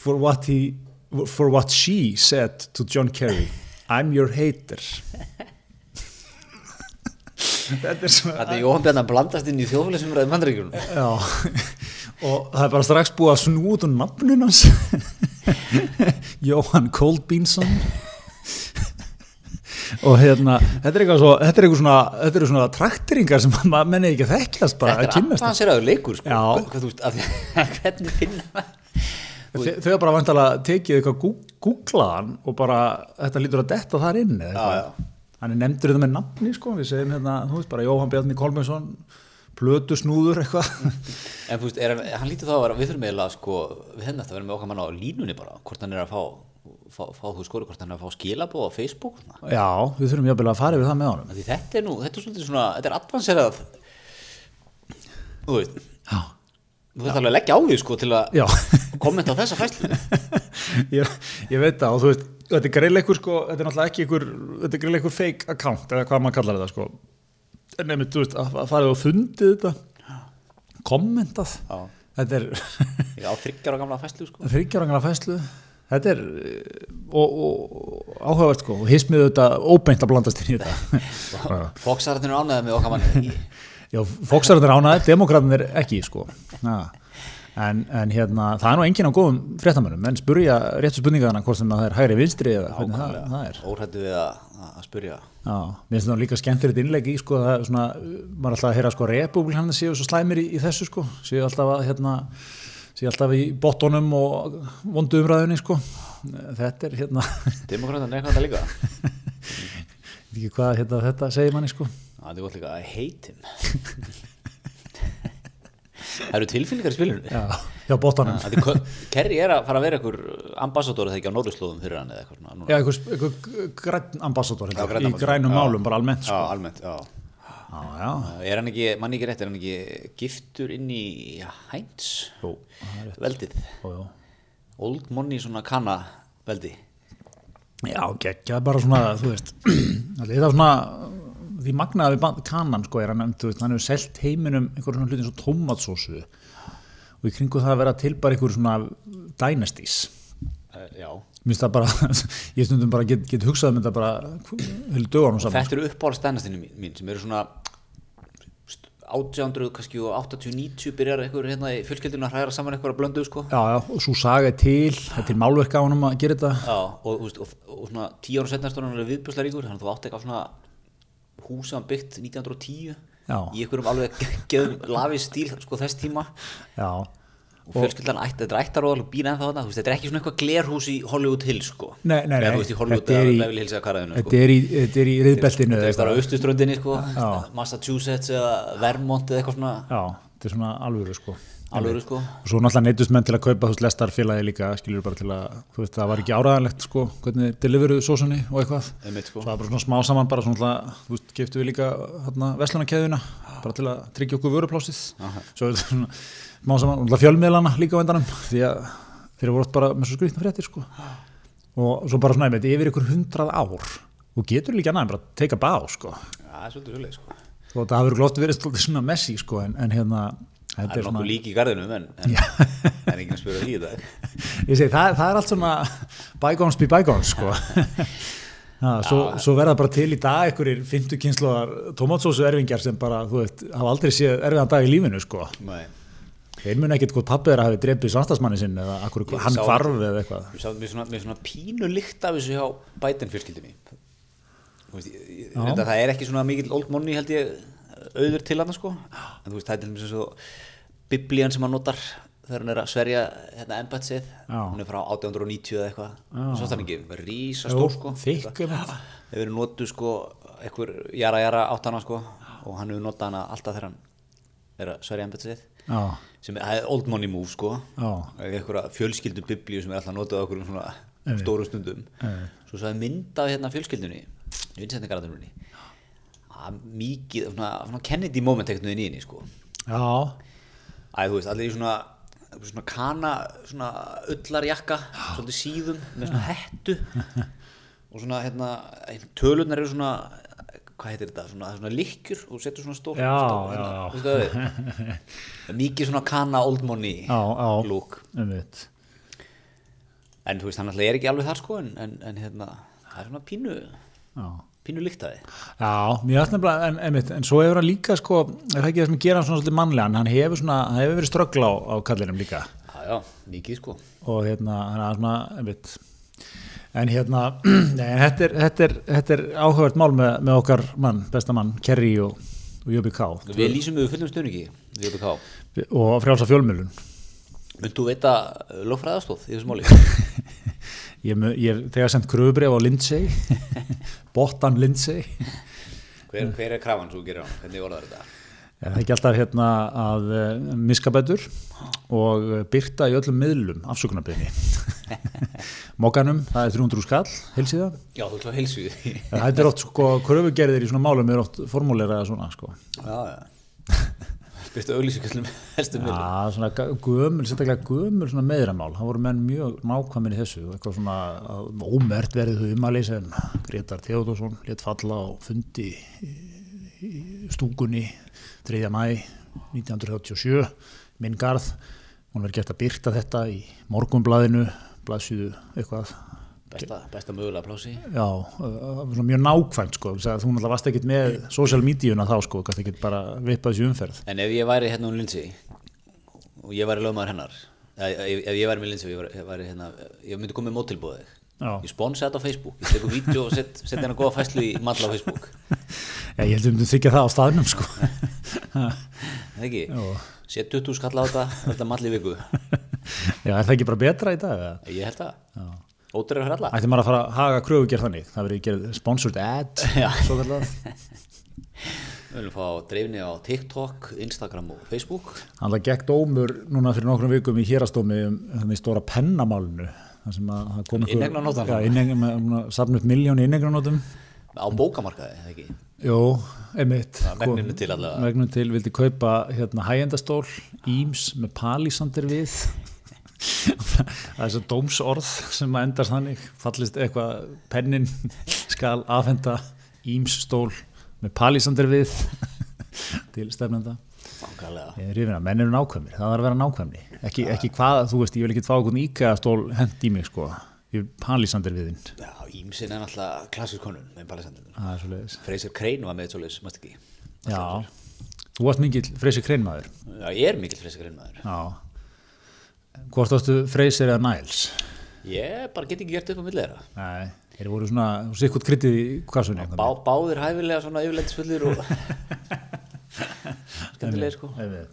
for what he for what she said to John Kerry I'm your hater þetta er svona Þannig að Jóhann Bjarnar blandast inn í þjóðfélagsumræðum vandaríkjunum. já, og það er bara strax búið að snú út um nafnun hans Jóhann Kolbínsson og hérna þetta er eitthvað svo, þetta er eitthvað svona þetta eru svona trakteringar sem maður menni ekki að þekkjast bara Þetta að er kynnast avanseraður leikur, sko. Já. Hvað, þú veist, að, því- hvernig finna maður? Þe- Þau hafa bara vantalega tekið eitthvað gú- googlaðan og bara þetta lítur að detta þar inn eða eitthvað. Já, já. Hann er nefndur þetta með nafni sko, við segjum hérna, þú veist bara Jóhann Bjarni Kolmensson, plötu snúður eitthvað. En þú veist, er, hann- hann lítur þá að vera, við þurfum eiginlega, sko, við hefum þetta að vera með okkar mann á línunni bara, hvort hann er að fá, fá, fá þú skori, hvort hann er að fá skilabóð á Facebook, svona. Já, við þurfum jafnvel að fara yfir það með honum. Af Því þetta er nú, þetta er svolítið svona, þetta er advanserað, þú veist, Já, þú veist alveg að leggja á því, sko, til að Já. kommenta á þessa fæslu. ég, ég veit það og þú veist, þetta er greil eitthvað sko, þetta er náttúrulega ekki eitthvað, þetta er greil eitthvað fake account eða hvað maður kallar þetta sko. Nefnir, þú veist, að að farið og fundið þetta, kommentað, Já. þetta er... Ég á þryggjar á gamla fæslu, sko. Þryggjarangana fæslu Þetta er eh, og, og, og áhugavert sko og hismið þetta óbeint að blandast inn í þetta Foxararnir eru ánæðið með okkar mann. Já, fóksararnir ánaði, demokraternar ekki sko ja. en, en hérna, það er nú enginn á góðum fréttamönnum, en spurja réttu spurningaðana hvort sem að það er hægri vinstri eða hvernig það, það er Óhættu við að, að spyrja. Já, mér finnst það líka skemmtilegt innlegg í sko, það er svona, maður er alltaf að heyra sko republikan séu svo slæmir í, í þessu sko séu alltaf að hérna séu alltaf í bottonum og vondu umræðunni sko, þetta er hérna ég Demokraterna er eitthvað um þetta líka. veit ekki hvað hérna, þetta segir manni sko Það er gott líka að heitim. Það eru tilfinningar í spilunum. já, já bottonum Kerry er að fara að vera einhver ambassadóri þegar ekki á Norðurslóðum fyrir hann eða eitthvað svona. núna. já, einhver, einhver græn ambassador Já, hérna, grænn í grænum ambassador. Já. málum, bara almennt Já, sko. almennt, já. já, já, Er hann ekki, mann ekki rétt, er hann ekki giftur inn í ja, Heinz? Jú, Veldið. já, já. Old money svona kanna veldi. Já, geggjað bara svona, þú veist, þetta er svona, því magnaði við band, kanan, sko, er hann, þú veist, hann hefur selt heiminum einhverjum svona hlutin svo tómatsósu og í kringu það að vera til bara einhverjum svona dynasties. Uh, já. Mér finnst það bara, ég stundum bara get, get hugsað um þetta bara, höll dögunum saman. Þetta eru uppáhald stænastinu mín, mín sem eru svona 1800 kannski og 80-90 byrjar eitthvað hérna í fjölskyldinu að hræra saman eitthvað að blöndu sko. Já, já, og svo saga er til, það er til málverka á honum að gera þetta. Já, og, og, og, og svona 10 ára setna stóðan hann er viðbjörslega ríkur, þannig að þú átt eitthvað svona hús sem hann byggt 1910 Já. í einhverjum alveg geðum lafi stíl sko þess tíma Já, og fjölskyldan ætti, þetta er ættaróðal og býr ennþá þarna, þú veist, þetta er ekki svona eitthvað glerhús í Hollywood Hills sko. Nei, nei, Eða, nei, þú veist, í Hollywood þetta er eða í- Beverly Hills eða Karaðinu þetta er í, þetta er í riðbeltinu eða sko. Þetta er á eitthvað. austuströndinni sko, Já. Massachusetts eða Vermont eða eitthvað svona Já, þetta er svona alvöru, sko. alvöru sko og svo náttúrulega neytust menn til að kaupa þú veist lestarfélagi líka, skilur bara til að þú veist, það var ekki áraðanlegt sko, hvernig þeir deliveruðu sósunni og eitthvað, Einmitt, sko. svo það var bara svona smá saman bara svona, náttúrulega, þú veist, keftu við líka hérna, veslunarkeðuna, bara til að tryggja okkur vöruplásið, svo þetta er svona smá saman, og náttúrulega fjölmiðlana líka á endanum því að þeir voru oft bara með svo skrýtna fréttir sko, og svo bara svona einmitt, yfir ykkur hundrað ár og getur líka annað en bara að teika bá sko Já, það er svolítið svolítið sko og það hafur glóft verið svolítið svona messi sko, en, en hérna, þetta Það er er svona- nokkuð lík í garðinum en, en það er enginn að spura því í dag ég segi, það, það er allt svona bygones be bygones sko. Ha, svo, svo verða bara til í dag einhverjir fymtu kynsloðar tomatsósu erfingjar sem bara, þú veit, hafa aldrei séð erfiðan dag í lífinu, sko. Nei. Þeir muni ekkit hvort pappið er að hafi drefið samstagsmanni sinn eða akkur, Ég hann sá hvarf eða eitthvað. Mér sátt mér svona, mér svona pínu lykt af þessu hjá Biden fjölskyldinni Þú veist, ég- ég- reyndar það er ekki svona mikill old money held ég auður til hann sko en þú veist, það er til dæmis eins og biblían sem hann notar þegar hann er að sverja hérna embatsið, Já. hún er frá 1890 eða eitthvað, svo stann ekki, rísa Jú, stór sko þykk, einmitt. hefur verið notuð sko einhver jara jara átt hana sko og hann hefur notað hana alltaf þegar hann er að sverja embatsið Já, sem er það er old money move sko Já. einhverja fjölskyldu biblíu sem er alltaf notað okkur um svona Einmitt. stóru stundum Einmitt. svo svo er mynd af hérna fjölskyldunni innsetningarðunni mikið, svona, svona Kennedy moment ekkert niður í henni sko já, Æ, þú veist, allir í svona, svona kana, svona ullarjakka, svolítið síðum, með svona hettu og svona, hérna, tölurnar eru svona, hvað heitir þetta, svona, svona lykkjur og setur svona stórt. Já, stórt, já. Þú veist hvað það er? Mikið svona kana old money já, já. look. Einmitt. en þú veist, hann alltaf er ekki alveg þar sko en, en, en hérna, það er svona pínu Já, pínu líktaði Já, mér finnst nefnilega, en, en, en svo hefur hann líka sko, er það ekki það sem gerir hann svona svolítið mannlegan, hann hefur svona, hann hefur verið ströggla á, á kallinum líka já, já, mikið sko og hérna, hann er svona, einmitt, en hérna, nei, en þetta er, þetta er, þetta er áhugavert mál með, með okkar mann, besta mann, Kerry og, og Jöbi K við lýsum við fullum stöningi við BK og frjálsa fjölmjölun. Munt þú veita lögfræðastóð í þessu máli? Ég, mu- ég þegar sendt kröfubref á Lindsay, Bottan Lindsay, Hver, hver er krafan sem þú gerir hann? Hvernig voru þetta? Er það ekki alltaf hérna að uh, miska betur og eh, birta í öllum miðlum afsökunarbyrni? Mokkanum, það er 300 skall, heilsíða. Já, þú ætlaði að heilsu því. En Þetta er oft sko, kröfugerðir í svona málum er oft formúleiraða svona sko. Já, já. Byrtu auglýsingallum hestum við. Já, svona ga- gömul, sérstaklega gömul svona meðramál. Það voru menn mjög nákvæmin í þessu. Eitthvað svona að ómert verðið þau umæli sem Gretar Theodorsson let falla á fundi í í stúkunni 3. mæ 1937, minn garð. Hún verið gert að byrta þetta í morgunblæðinu, blaðsýðu eitthvað. Besta, besta mögulega plási. Já, eh, svona mjög nákvæmt sko. Þú hún alltaf varst ekkit með social mediuna þá sko, gæti ekkit bara vippað þessi umferð. En ef ég væri hérna um Lindsay og ég væri lögmaður hennar, eða ef, ef ég væri með Lindsay og ég væri, ég væri hérna, ég myndi komið mótilbúið þig. Já. Ég sponsa þetta á Facebook, ég tekur vídeo og set, set hennar góða fæslu í matla á Facebook. Já, ég held um þú þykja það á staðnum sko. Það ekki? Jú. Set 20 skalla á þetta, þetta matla í viku. Já, er það ekki bara betra í dag? eða? Ég held það. Ótrúið fyrir alla. Ætti maður að fara að haga kröfu gerð þannig? Það verið gerð sponsored ad, Já. svo kallar. Við viljum fá dreifni á TikTok, Instagram og Facebook. Þannig að gekk dómur núna fyrir nokkrum vikum í hérastómi um þannig stóra pennamálinu. Það sem að það kom Inneignarnótar. Já, innegna, safn upp miljónu inneignarnótum. Á bókamarkaði, eða ekki? Jó, einmitt. Það er megninu til allavega. Megninu til vildi kaupa hérna hægendastól, íms með palisandir við. það er svo dómsorð sem að endast þannig. Fallist eitthvað pennin skal afhenda ímsstól með palisandir við til stefnenda. Fangalega. Ég er yfirna, menn eru nákvæmir, það þarf að vera nákvæmni ekki, ekki hvað, þú veist, ég vil ekki fá okkur íka stól hend í mig sko ég palisandir við þinn, Já, Ímsin er náttúrulega klassiskonun með Ballisandinu. það er svo leiðis Freysir Krein var með þetta svolítið, mást ekki? Já, þú varst mikill Freysi Kreinmaður Já, ég er mikill Freysir Krein maður. Já Hvort varstu Freysi eða Niles? Ég bara get ekki gert upp á milli þeirra. Nei, þeir voru svona, þú sé hvort kryttið í kassunni Bá, báðir hæfilega svona yfirleitisfullir og... Skemmtilega, sko. Já,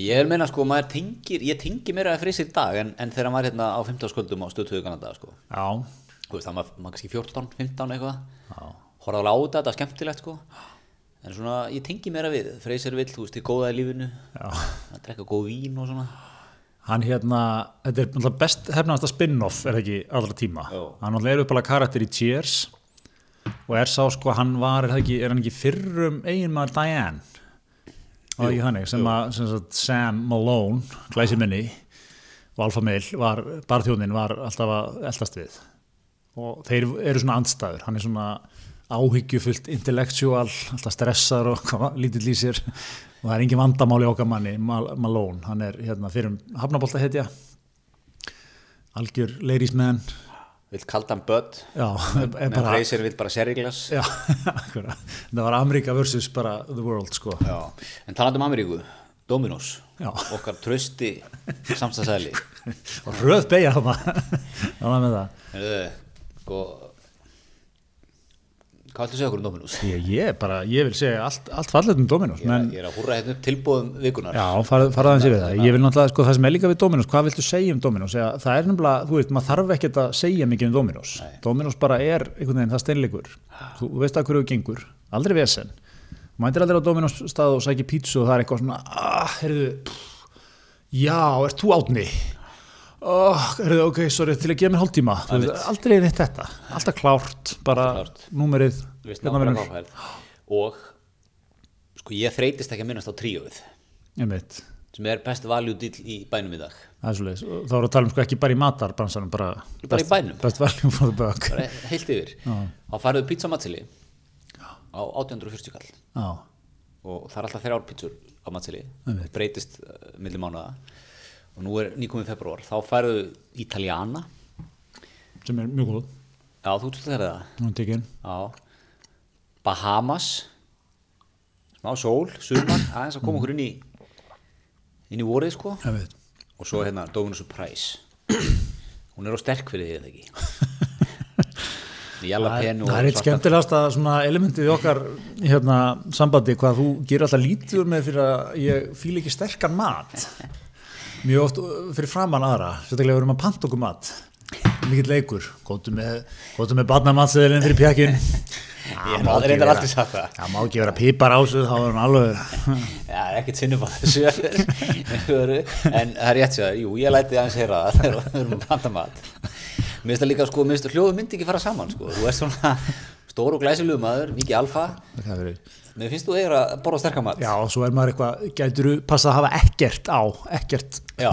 Ég vil meina, sko, maður tengir, ég tengi meira að Freysir í dag en, en þegar maður hérna á 15 skuldum á stöðtöðu Kanada, sko. Þú veist, það maður, maður kannski 14, 15 eitthvað. já horfa alveg á þetta, þetta er skemmtilegt sko en svona, ég tengi meira við Freysir vill, þú veist, þið góða í lífinu Já, að drekka góð vín og svona hann hérna, þetta er náttúrulega best hefnaðasta spin-off er það ekki allra tíma Jó. hann náttúrulega er uppalega karakter í Cheers og er sá sko, hann var er, það ekki, er hann ekki fyrrum eiginmaður Diane og ekki þannig sem að sem sagt, Sam Malone, glæsi minni og Alfa Meil var barþjónin var alltaf að eldast við og þeir eru svona andstæður hann er svona áhyggjufullt intellectual, alltaf stressar og hvað, lítill í sér og það er engin vandamáli okkar manni, Mal Malone hann er hérna fyrir hafnabólta hetja algjör ladies man vill kaldan börn já, er er en bara Freysir vill bara seriglas já, akkúrat. það var Amerika versus bara the world sko Já. en talandi um Ameríku, Dominos Já. okkar trösti samstagsæli og röð beigja þarna þarna með það sko hvað ætlum að segja okkur um Dominos? ég, ég bara, ég vil segja allt, allt fallet um Dominos Ég, menn Men, ég er að húra hérna upp tilbúðum vikunar Já, farað fara aðeins yfir það. Ég vil náttúrulega, sko, það sem er líka við Dominos, hvað viltu segja um Dominos? Eða, það er nefnilega, þú veist, maður þarf ekkert að segja mikið um Dominos. Dominos bara er einhvern veginn það steinleikur. Þú veist að hverju þú gengur, aldrei vesen. Þú mætir aldrei á Dominos stað og sækir pítsu og það er eitthvað svona, ah, heyrðu, pff, já, ert þú átni? Oh, heyrðu, ok, sorry, til að gefa mér hálftíma. Þú veist, aldrei er neitt þetta. Alltaf klárt, bara Alltaf númerið. Við veist, hérna nákvæmlega vinur. nákvæmlega. og sko ég þreytist ekki að minnast á tríóið Einmitt. sem er best value deal í bænum í dag Það er svoleiðis. Og Þá voru að tala um sko ekki bara í matarbransanum, bara, Bara í bænum. Best value for the buck. bara heilt yfir þá færðu pizza matseli á 840 kall Já, og það er alltaf þrjár pizzur á matseli eh, Einmitt. breytist uh, milli mánuða og nú er nýkomið februar þá færðu Italiana sem er mjög góð, Já, þú ert svolítið að herra það hún er tekin Já Bahamas Smá sól, sumar, aðeins að koma okkur inn í inn í vorið sko ég veit, og svo hérna Dominus Price hún er á sterk fyrir því eða ekki það er, Jalapen og það er eitt skemmtilegasta svona elementið í okkar hérna, sambandi, hvað þú gerir alltaf lítur með fyrir að ég fíl ekki sterkan mat mjög oft uh, fyrir framann aðra, sérstaklega við erum að panta okkur mat mikill leikur, góttu með góttu með barnamatseðilinn fyrir pjakkin Ég hef reyndar aldrei sagt það. það má ekki vera pípar ásuð, þá erum alveg Já, það er ekkert sinnum á þessu en það er rétt sér, jú, ég læti aðeins heyra það þegar við erum að blanda mat Mér finnst það líka, sko, mér finnst það hljóðu myndi ekki fara saman, sko Þú ert svona stór og glæsilegu maður, mikið alfa það er verið Mér finnst þú eiginlega að borða sterkan mat Já, og svo er maður eitthvað, gætur þú passa að hafa ekkert á, ekkert Já,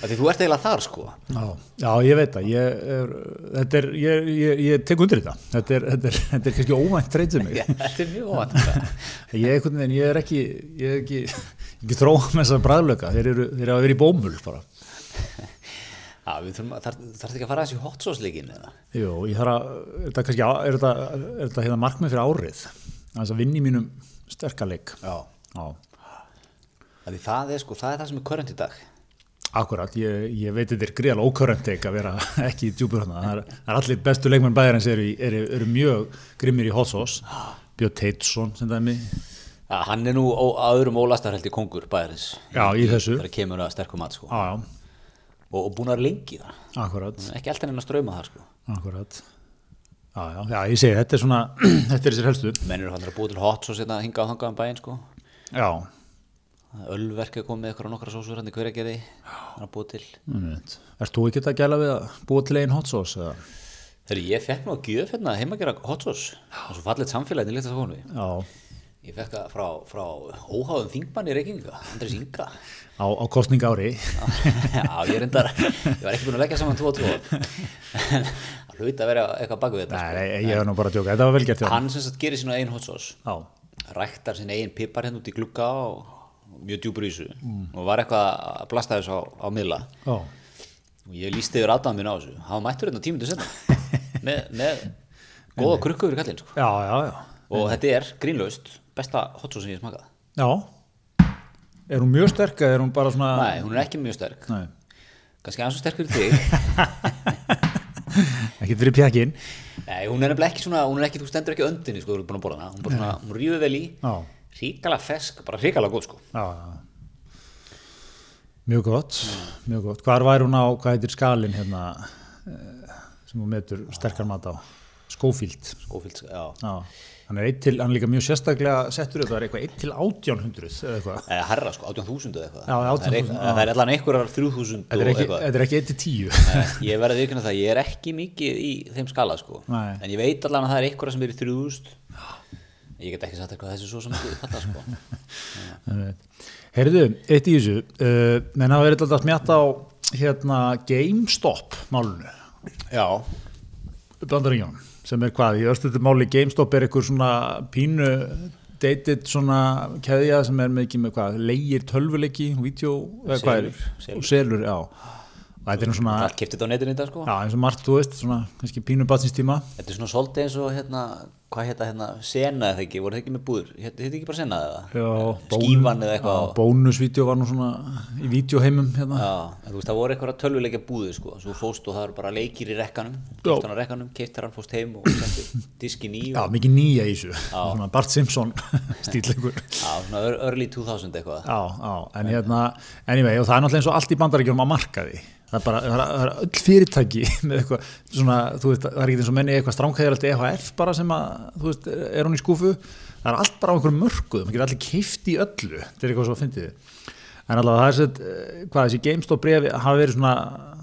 af því þú ert eiginlega þar, sko Já, já ég veit það, ég, er, þetta er, ég, ég, ég tek undir þetta, þetta er, þetta er, þetta er kannski óvænt treytið mig. Já, Þetta er mjög óvænt Ég, einhvern veginn, ég er ekki, ég er ekki, ég er ekki þróa með þessar bræðlöka, þeir eru, þeir eru að vera í bómull bara. Já, við þurfum að, þarf, þarf ekki að fara þessi hot sauce leikin eða? Jú, ég þarf að, er þetta kannski, á- er þetta, er þetta hérna markmið fyrir árið, þess að vinni mínum sterkaleik. Já Já, Af því það er, sko, það er það sem er körrent í dag akkurat, ég, ég veit þetta er gríðal ókörrendeik að vera ekki í djúpur þarna, það er, það er allir bestu leikmenn bæjarins eru, í- eru, eru mjög grimmir í hot sauce, Björn Teitsson sem dæmi, Já, hann er nú ó, öðrum ólastarhaldi kongur bæðarins Já, í þessu. Þegar kemur að sterkum mat, sko Já, já, og, og búin að vera lengi það akkurat, Hann er ekki alltaf enn að ströma það sko akkurat. Já, já, já, ég segi, þetta er svona, þetta er þessir helstu. menn eru hann að búa til hot hérna svo setna hinga á þangaðan bæinn sko Já, Ölverk er komið með eitthvað nokkra sósur hann í hverjargeði hann að búa til einmitt. Erst þú ekki að gæla við að búa til einn hot sauce? Eða? Þegar ég fekk nú að gjöf hérna heima að gera hot sós og svo hérna fallit samfélagin lítið það konu Já, ég fekk það frá, frá óháðum þingmann í Reykjavíka Andris Inga á, á kostning ári. Já, ég reyndar, ég var ekki búin að leggja saman 2 og 2 Það hlaut að vera eitthvað bak við þetta Nei, nei, ég hef nú bara að djóka, þetta var vel gert hjá. Hann sem sagt gerir sína einn hot sós Já, ræktar sinn eigin pipar hérna út í glugga og og mjög djúpur í þessu og var eitthvað að blasta þessu á, á miðla já, og ég lísti yfir aðdáðan mín á þessu hann mættur hérna tímundu senna með, með góða krukku yfir kallinn sko. já, já, já. og þetta er grínlaust besta hotsó sem ég smakað Já, er hún mjög sterk eða er hún bara svona... nei, hún er ekki mjög sterk Nei. kannski aðeins og sterkur í þig Ekki fyrir pjakkin. nei, hún er nefnilega ekki svona hún er ekki, þú stendur ekki öndinni sko, þú er búin að borða hana hún, bara svona, hún rýfur vel í Já, ríkala fesk, bara ríkala góð sko já, já. Mjög gott, mjög gott. Hvar væri hún á, hvað heitir skalin hérna eh, sem hún metur sterkar mat á? Schofield. skófíld, já Já, hann er, einn til, hann er líka mjög sérstaklega settur upp, það er eitthvað 1 til 1800 eða eitthvað. eða herra sko, 18.000 eða eitthvað Já, 18.000, það er, það er allan einhverjar 3.000 Þetta er og ekki, eitthvað þetta er ekki 1 til 10. Nei, ég verði viðkynna það, ég er ekki mikið í þeim skala sko Nei. en ég veit allan að það er einhverja sem er í 3000 ég get ekki sagt eitthvað þessi svo sem ekki þetta sko Herðu, eitt í þessu, uh, menn hafa verið alltaf að smjata á hérna GameStop málunu, já, bandaríkjónum, sem er hvað, í östutu máli GameStop er eitthvað svona pínu dated svona keðja sem er með ekki með hvað, leigir tölvuleiki, vídeo, eða hvað er, Selur, og selur, já. Og þetta er nú svona, allt kiptið á netinu í dag sko já, eins og margt, þú veist, svona kannski pínu batsnistíma. þetta er svona svolítið eins og hérna hvað hérna, hérna, sena eða ekki, voru það ekki með búður hérna, þetta ekki bara sena eða Já, skífan eða eitthvað Já, bónusvídeó var nú svona í vídeoheimum hérna. Já, en þú veist, það voru eitthvað tölvuleikja búðir sko, svo fóst og það eru bara leikir í rekkanum, Já. kiptan á rekkanum, kiptar hann fóst heim og setti diskin í Já, og, mikið nýja í þessu, svona Bart Simpson stíleikur. já, svona ör- early 2000 eitthvað. Já, já, en hérna, anyway, og það er náttúrulega eins og allt í bandaríkjum að markaði. Það er bara, það er, það er öll fyrirtæki með eitthvað, svona, þú veist, það er ekki eins og menni eitthvað stránkæðilegt EHF bara sem að, þú veist, er hún í skúfu. Það er allt bara á einhverjum mörkuðum, það getur allir keift í öllu, þetta er eitthvað svo að fyndið. En allavega það er sett, eh, hvað þessi GameStop brefi hafa verið svona,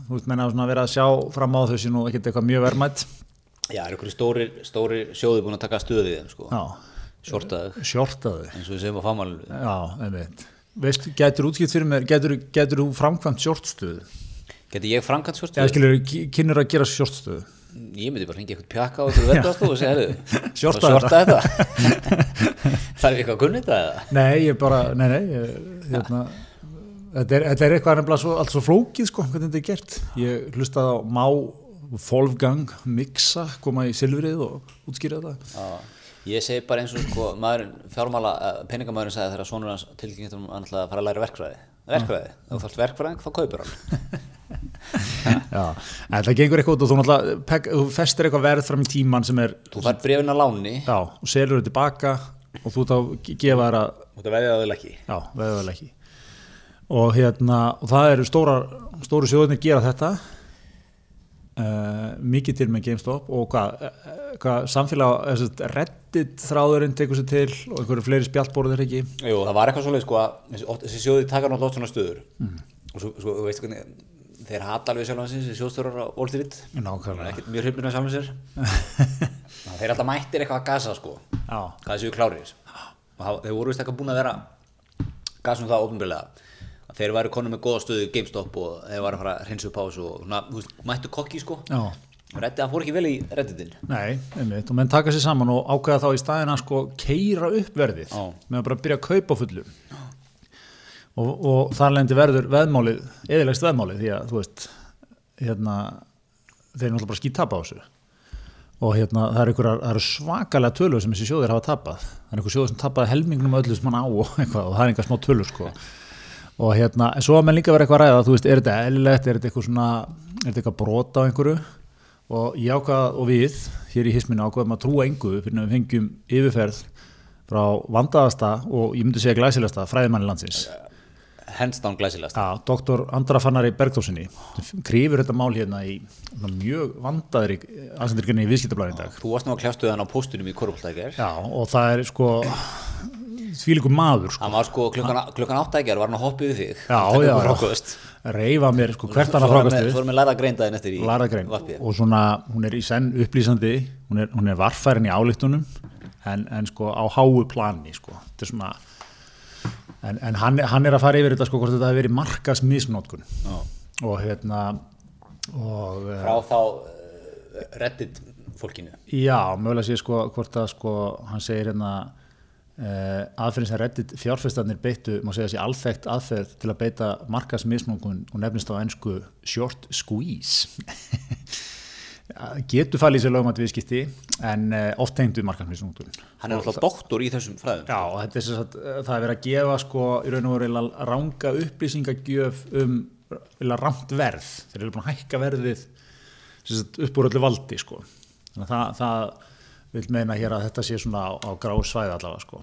þú veist, menna hafa svona verið að sjá fram á þessi nú ekkert eitthvað mjög verðmætt. Já, það eru einhverju stóri, stóri sjóði búin að taka stöðu í þeim sko. Já, Sjórtaðu, sjortaðu. eins og við segjum á famalinu. Já, einmitt. Veist, getur útskipt fyrir mér, getur, getur þú framkvæmt sjortstöðu? Geti ég framkvæmt Eða sjórtaðu? skilur, kynur að gera sjortstöðu? Ég myndi bara hringja eitthvað pjaka á eitthvað verðast og segja, herru, Shorta bara shorta þetta. Þarf ég eitthvað að kunna þetta eða? Nei, ég bara, nei, nei, ég, hérna, þetta, er, þetta er eitthvað nefnilega svo, allt svo flókið, sko, hvernig þetta er gert. Ég hlustaði á Má Wolfgang Miksa koma í silfrið og útskýra þetta Já, ég segi bara eins og sko, maðurinn, fjármála, eh, peningamæðurinn sagði þegar sonur hans tilkynnti um hann ætlaði að fara að læra verkfræði. Verkfræði, ef þú þarft verkfræðing, þá kaupir hann. Já, en það gengur eitthvað út og þú náttúrulega pek- þú festir eitthvað verð fram í tíman sem er Þú fær brefin að láni, já, og selur þetta tilbaka og þú þá ge- gefa þær að þú ert að veðja það vel ekki. Já, veðuvel ekki og hérna, og það eru stóra stóru sjóðunir gera þetta uh, mikið til með GameStop og hvað, eh, hvað samfélag þessi, Reddit þráðurinn tekur sér til og einhverju fleiri spjallbóruðir ekki Jú, það var eitthvað svoleið, sko, að þessi, oft- þessi sjóði taka náttúrulega oft svona stöður. Og svo, svo, þú veist hvernig, þeir hata alveg sjálf hansins, þessi sjóðstöður á Wall Street. Það er Nákvæmlega ekkert mjög hrifnir af sjálfum sér. Ná, þeir alltaf mættir eitthvað að gasa, sko. Já, það séu klárir og það- þeir voru vist eitthvað búin að vera gasum það ofnbjörlega að þeir væri konum með góða stöðu í GameStop og þeir væri að fara að hreinsa upp á þessu og svona, þú veist, mættu kokki sko já, Reddi, það fór ekki vel í redditin nei, einmitt og menn taka sér saman og ákveða þá í staðina sko keira upp verðið Já. með að bara byrja að kaupa á fullu og, og þar lendi verður veðmálið, eðilegst veðmálið því að þú veist, hérna þeir náttúrulega bara skýt tapa á þessu og hérna það eru einhverjar, það eru svakalega tölur sem þessi sjóðir hafa tapað það eru einhver sjóður sem tapaði helmingnum af öllu sem hann á og, eitthvað, og það er einhver smá tölur sko og hérna, en svo að menn líka verið eitthvað að ræða þú veist, er þetta eðlilegt, er þetta eitthvað svona er þetta eitthvað brota á einhverju og ég ákvað og við, hér í hisminu ákvaðum að trúa engu fyrir að við fengjum yfirferð frá vandaðasta og ég myndi segja glæsilegasta fræðimanni landsins hands down glæsilegast Já, doktor Andra Fannari Bergþórsinni krifur þetta mál hérna í svona mjög vandaðri aðsendurgrinni í viðskiptablaðin dag. þú varst nú að kljástu þann á póstunum í Korupoltækjar Já, og það er sko þvílíku maður sko. hann var sko klukkan, klukkan áttækjar var hann að hoppa yfir þig Já, Að taka já, upp já. frákvöst. Reyfa mér sko hvert Svo annað erum við- frákastu, svo erum við lærða greindaðin eftir í larðagrein varpið. og svona, hún er í senn upplýsandi hún er, hún er varfærin í álíktunum en, en sko á háu plani sko, þetta er svona en, en hann, hann er að fara yfir þetta sko hvort þetta hefur verið markas misnótkun Já. og hérna og eh, frá þá uh, reddit fólkinu Já, mögulega sé sko hvort að sko hann segir hérna uh, aðferðin sem reddit fjárfestarnir beittu má segja sé alþekkt aðferð til að beita markasmismungun og nefnist á ennsku short squeeze Ja, getur falið sér lögum að viðskipti en uh, oft tengdu markasmismungun hann er alltaf doktor í þessum fræðum Já, og þetta er sem sagt, eh, það er verið að gefa sko í raun og veru eiginlega ranga upplýsingagjöf um eiginlega rangt verð, þeir eru búin að hækka verðið sem sagt, upp úr öllu valdi sko. Þannig að það, það vil meina hér að þetta sé svona á, á grá svæði allavega sko.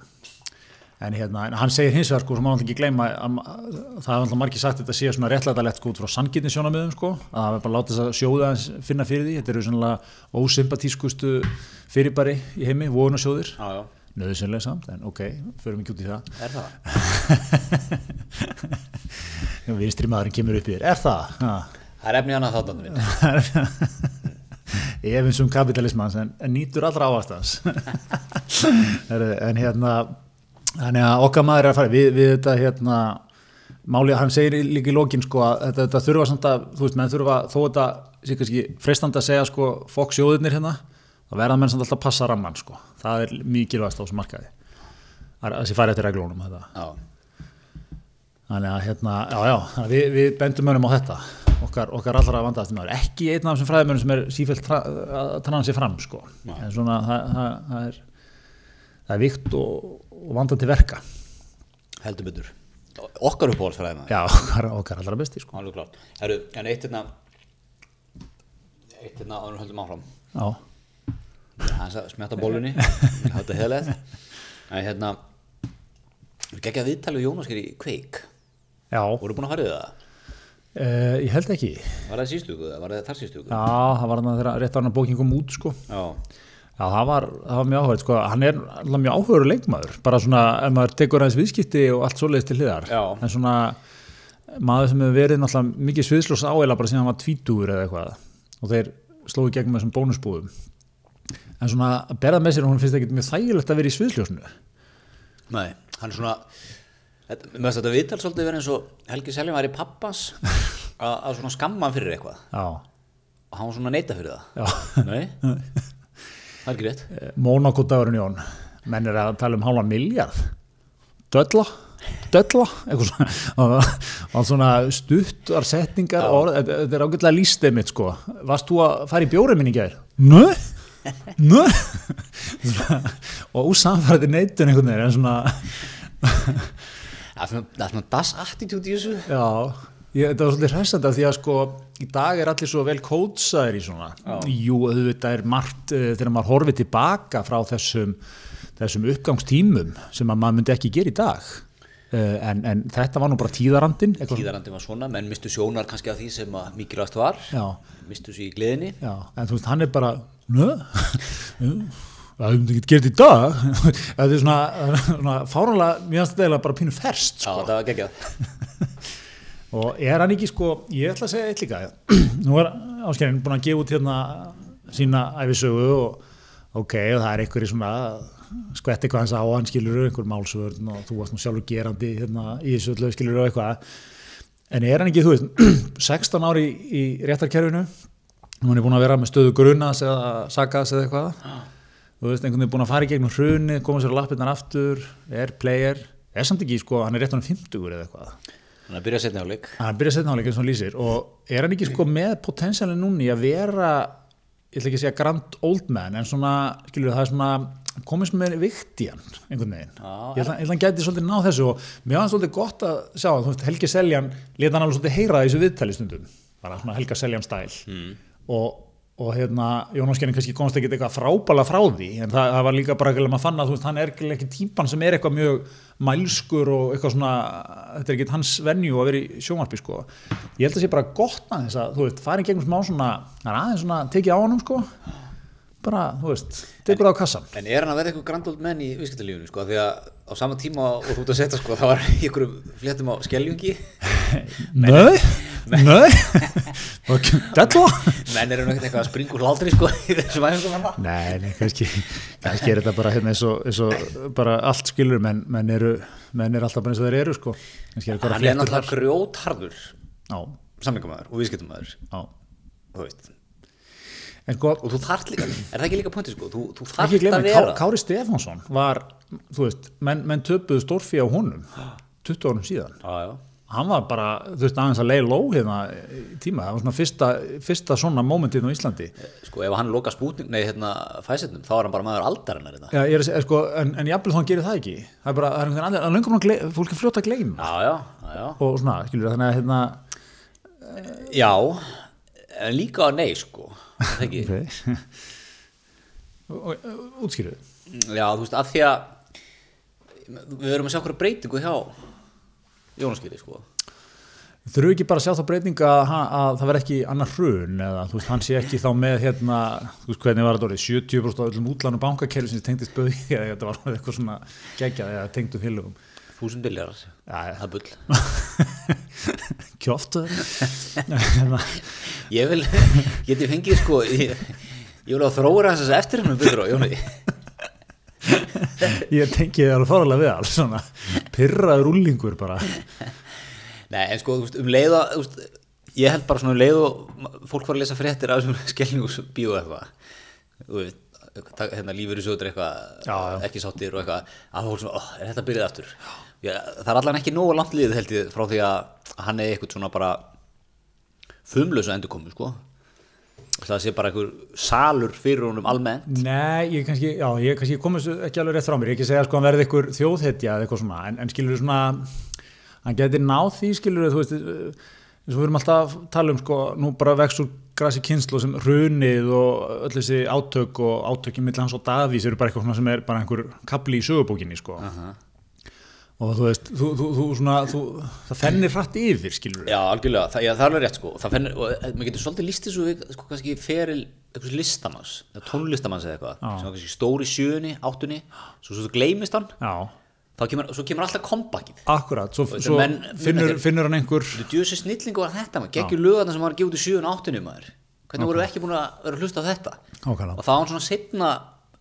En hérna, en hann segir hins vegar sko, sem má náttúrulega ekki gleyma að, ma- að það er náttúrulega margir sagt að þetta sé svona réttlætalegt sko út frá sanngirni sjónamiðum sko, að það er bara að láta þess að sjóða hans finna fyrir því, þetta eru svona ósympatískustu fyrirbæri í heimi, vogunarsjóðir já, já. nöðsynlega samt, en ok, förum ekki út í það er það vinstri maðurinn kemur upp í þér, er það? Ha. Það er efni hann að þáttanum minn. ég finnst um kapitalismans en, en nýtur allra áastans en hérna þannig að okkar maður er að fara við, við þetta hérna máli, hann segir líka í lokin sko að þetta, þetta þurfa samt að, þú veist, menn þurfa þó þetta sé kannski freistandi að segja sko fokk sjóðirnir hérna, þá verða menn samt alltaf að passa ramman sko, það er mikilvægast á þessum markaði, Það er- að þessi færi eftir reglunum þetta Já. Þannig að hérna, já, já, þannig að við, við bendum mönnum á þetta, okkar, okkar allra vandaðastum maður, ekki einn af þessum fræðimönnum sem er sífælt tra að tranna sér fram, sko, Nei. en svona það, það, það er, það er vikt og, og vandað til verka, Heldur betur. Okkar uppáhaldsfræði maður. já, okkar, okkar allra besti, sko, Alveg klart. Herru, en eitt hérna, eitt hérna áður en við höldum áfram. já, Hann sagði smetta bólunni, þetta heðilegt. En hérna, við gekkja viðtalið við Jónas hér í Kveik. já, Voru búin að fara í það? e, ég held ekki, já, Var það sístu ykkur? Var það þar sístu ykkur? það var hann að þeirra rétt á hann að bókin kom út, sko, Já. Já, það var, það var mjög áhverð, sko, hann er alltaf mjög áhverður leikmaður, bara svona, ef maður tekur hans viðskipti og allt svoleiðist til hliðar, Já. en svona, maður sem hefur verið náttúrulega mikið sviðsljós áeila bara síðan hann var tvítúur eða eitthvað, og þeir slói gegnum þessum bónusbúðum, en svona, að berða með sér, hún finnst ekkit mjög þægilegt að vera í sviðsljósnu, Nei, hann er svona, þetta, mér finnst þetta viðtal svolítið verið eins og Helgi Seljum var í pappans að, að svona skamma hann fyrir eitthvað. já, og hann var svona að neita fyrir það já, Nei, það er ekki rétt Mónakótaðurinn Jón, menn er að tala um hálfa miljard, dölla, dölla eitthvað svona, og- og svona stuttar setningar orð, þetta þetta er ágætlega lístið mitt sko varst þú að fara í bjórið minni í gær? Nö, nö Svona, og úsamfæraði neitun einhvern veginn en svona, Það er svona- það er svona das attitude í þessu já ég, þetta var svolítið hressandi af því að sko í dag er allir svo vel kótsaðir í svona jú, auðvitað er margt eh, þegar maður horfið tilbaka frá þessum þessum uppgangstímum sem að maður myndi ekki gera í dag Eh, en, en þetta var nú bara tíðarandin eitthvað Tíðarandi var svona, menn mistu sjónar kannski af því sem að mikilvægt var Já. mistu sér í gleðinni Já, en þú veist, hann er bara, nö, það hefum þetta ekki gert í dag, þetta er svona, svona fáranlega, mér finnst þetta eiginlega bara pínu ferst, Já, sko. það var geggjað Og er hann ekki, sko, ég ætla að segja eitt líka, nú er áskerinn búin að gefa út hérna sína æfisögu og ok, og það er einhverjir svona, skvett eitthvað hans á hann skilur einhver málsvörn og þú varst nú sjálfur gerandi hérna í þessu öllu skilur og eitthvað. En er hann ekki, þú veist, 16 ári í, í réttarkerfinu, nú hann er búin að vera með stöðu grunas eða sakas eða eitthvað, þú veist, einhvern veginn búin að fara í gegnum hruni, koma sér á lappirnar aftur, er player, er samt ekki, sko, hann er réttan 50 eða eitthvað. Þannig að byrja setni áleik Hann byrja setna áleik eins og hann lýsir og er hann ekki sko með potensialin núni að vera, ég ætla ekki að segja grand old man, en svona, skilur það er svona komist með vikt í hann einhvern veginn. Já, ég ætla ég ætla hann gæti svolítið ná þessu og mér var hann svolítið gott að sjá, þú veist, Helgi Seljan leta hann alveg svolítið heyra það í þessu viðtali stundum, bara svona Helga Seljan stæl og, og hérna, Jón Áskerinn kannski komst ekki eitthvað frábæla frá því, en það, það var líka bara að maður fann að þú veist, hann er ekki- ekki típan sem er eitthvað mjög mælskur og eitthvað svona, þetta er ekki hans venju að vera í sjónvarpi sko. Ég held að sé bara gott að þess að, þú veist, farin gegnum smá svona, hann er aðeins svona tekið á honum sko, bara, þú veist, tekur það á kassan. En er hann að vera eitthvað grandold menn í viðskiptalífinu sko? Af Því að á sama tíma og þú ert að setja sko, það var í einhverjum fléttum á skeljungi Nei, nei, ok, della. Menn eru nú ekkert eitthvað að springa úr hlátri sko, í þessum æfingum hann Nei, nei, kannski, kannski er þetta bara hérna eins og, eins og bara allt skilur, menn, menn, eru, menn eru alltaf bara eins og þeir eru sko. Kannski er eitthvað Ah, Hann er fléttur þar. náttúrulega grjótharður Já, samningamæður og viðskiptamæður já. Þú veist En sko, Og þú þarft líka, er það ekki líka pointi sko? Þú, þú ekki þarft glemma, að Ká, vera Kári Stefánsson var, þú veist, menn, menn töpuðu stórfí á honum 20 árum síðan. Já, já Hann var bara, þú veist, aðeins að leið ló hérna í tíma. Það var svona fyrsta, fyrsta svona momentið á Íslandi. Sko ef hann loka spútning, nei hérna fæsetnum, þá er hann bara maður aldarinnar hérna. þetta. Já, ég er að segja, sko, en, en jafnvel þá hann gerir það ekki. Það er bara, það er einhvern veginn, að löngum hann, gle- fólk er fljótt að gleyma. Já, já, já, já. Og svona, skilur, þannig að hérna, Já, en líka að nei sko, er það ekki. okay. útskýrðu Já, þú veist, af því að við verum að sjá hverju breytingu hjá Jónaskýri sko. þurfu ekki bara að sjá þá breytinga að, ha- að það verð ekki annar hrun eða þú veist, hann sé ekki þá með hérna, þú veist hvernig var þetta orðið 70% af öllum útlánu bankakerfi sem tengdist böði eða þetta var orðið eitthvað svona geggjað eða tengdu félögum Þúsund biljar, Já, það er bull. kjóftu hérna, Ég vil, geti fengið sko, ég, ég vil að þróra þess að eftir hennu byrður á Jóni. ég tengi það alveg fárlega við alls svona pyrraður úlingur bara Nei, en sko, þú veist, um leiða, þú veist, ég held bara svona um leið og fólk var að lesa fréttir af þessum skellingu og eitthvað, þú veist, tak- hérna lífur í sögur eitthvað, Já, já. ekki sáttir og eitthvað, að fólk svona, oh, er þetta byrjað aftur? Já, það er allan ekki nógu langt liðið held ég frá því að hann er eitthvað svona bara fumlösa endurkomu, sko. Það sé bara einhver salur fyrir honum almennt. Nei, ég kannski, já, ég kannski komist ekki alveg rétt frá mér, ég ekki segja sko hann verði einhver þjóðhetja eða eitthvað svona, en, en skilur svona, hann getur náð því skilur þú veist, eh, eins og við erum alltaf að tala um sko, nú bara vex úr grasi kynslu sem hrunið og öll þessi átök og átökjum milli hans og Davís eru bara eitthvað svona sem er bara einhver kapli í sögubókinni sko og þú veist, þú, þú, þú svona, þú, það fennir hratt yfir skilur Já, algjörlega, það, já, það er alveg rétt sko Það fennir, og eh, maður getur svolítið list þessu við, sko, kannski feril einhvers listamanns eða tónlistamanns eða eitthvað sem var kannski stór í sjöunni, áttunni svo svo gleymist hann, Já, þá kemur, svo kemur alltaf kompakið akkurat, svo, þetta svo menn- finnur, þetta er- finnur hann einhver Þú djöðu sér snillingu var þetta maður, geggjur lögarna sem var að gefa út í sjöun áttunni maður Hvernig voru við ekki búin að vera að hlusta á þetta Nákvæmlega. Og það var hann svona setna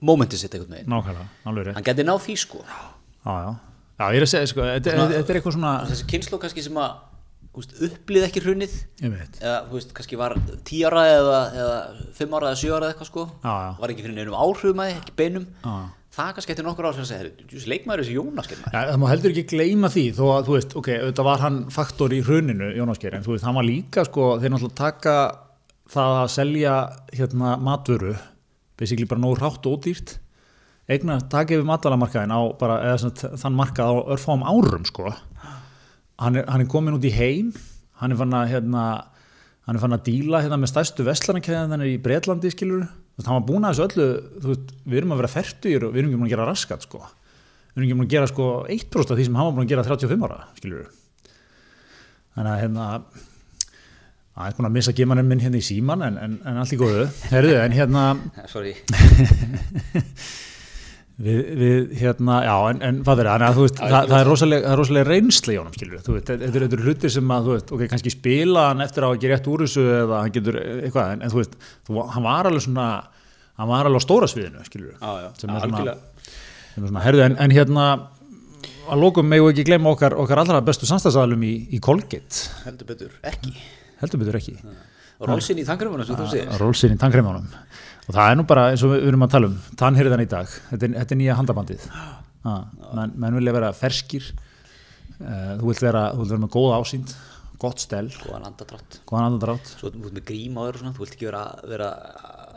mómentið sitt einhvern veginn nákvæmlega, alveg rétt Hann geti náð því sko Já, já. Já, ég er að segja, sko, þetta, þetta er eitthvað svona, Þessi kynslu kannski sem að þú veist, upplið ekki hrunnið ég veit, eða þú veist, kannski var 10 ára eða, eða 5 ára eða 7 ára eða eitthvað sko Já, já. var ekki fyrir neinum áhrifum að því, ekki beinum Já. það kannski eftir nokkur ár sem að segja, herri, leikmaður þessi Jónaskeið maður Ja, það má heldur ekki gleyma því þó að þú veist, ok, auðvitað var hann faktor í hruninu, Jónáskeir, en þú veist, hann var líka sko, þeir náttúrulega taka það að selja hérna matvöru basically bara nóg rátt og ódýrt eigna að taka yfir matvalamarkaðin á bara, eða svona, þann markað á örfáum árum sko, hann er, hann er komin út í heim, hann er fann að hérna, hann er fann að díla hérna með stærstu veslanarkæðan þannig í Bretlandi skilur, þú veist, hann var búin að þessu öllu þú veist, við erum að vera fertugir og við erum ekki búin að gera raskat sko, við erum ekki búin að gera sko 1% af því sem hann var búin að gera 35 ára skilur þannig að hérna Það er búin að missa gemanum minn hérna í síman en, en, en allt í góðu. Herðu, en hérna, sorry, við, við hérna, já, en, en fattur það, þú veist, það, það er rosalega, það er rosalega reynsli í honum, skilur, þú veist, þetta eru- þetta eru hlutir sem að, þú veist, ok, kannski spila hann eftir á að gera rétt úr þessu eða hann getur eh, eitthvað, en, en þú veist, þú, hann var alveg svona, hann var alveg á stóra sviðinu, skilur, Já, já, sem er svona, algjörlega. sem er svona, herðu, en, en hérna, að lókum megu ekki gleyma okkar, okkar allra bestu samstagsadalum í, í Colgate, heldur betur, ekki heldur betur ekki. Já. og rólsinn í þangrumunum sem þú segir rólsinn í tannkremunum og það er nú bara eins og við erum að tala um tannhyrðan í dag, þetta er, þetta er nýja handabandið ah, menn, menn vilja vera ferskir uh, þú vilt vera, þú vilt vera með góða ásýnd gott stel, góðan andadrátt góðan andadrátt svo þú ert með gríma og svona, þú vilt ekki vera, vera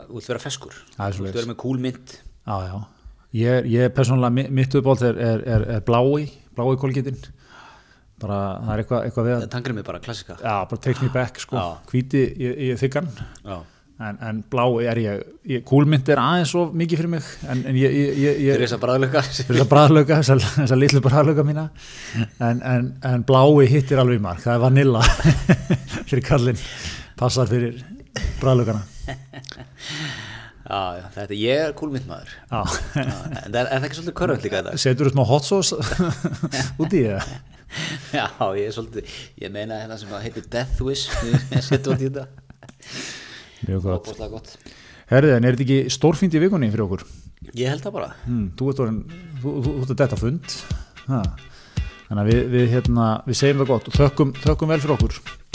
þú vilt vera feskur, Það er þú vilt svoleiðis. vera með kúlmynd já, já, ég er, ég er persónulega mi- mitt uppáld er, er, er, er blái blái kólgetinn bara, það er eitthvað, eitthvað við að tangrið mig bara, klassika já, bara take me back, sko, Já. hvíti ég, ég er þykkan Já. En, en blá er ég, ég kúlmynd er aðeins of mikið fyrir mig en, en ég, ég, ég, ég fyrir þess að bræðlöka fyrir þessa bræðlauka, þessa, þessa litlu bræðlauka mína en, en, en blái hittir alveg í mark, það er vanilla fyrir kallinn, passar fyrir bræðlaukana þetta ég er kúlmynd maður Já, en það er, er það ekki svolítið körfund líka þetta setur þú smá hot sauce út í það já, ég er svolítið, ég meina hérna sem að heitir Death Wish ég setja út í þetta mjög gott, óbúslega gott herðið en er þetta ekki stórfínd í vikunni fyrir okkur ég held það bara hmm, þú ert orðin, þú, þú, þú ert að detta á fund ha. þannig að við, við, hérna, við segjum það gott og þökkum, þökkum vel fyrir okkur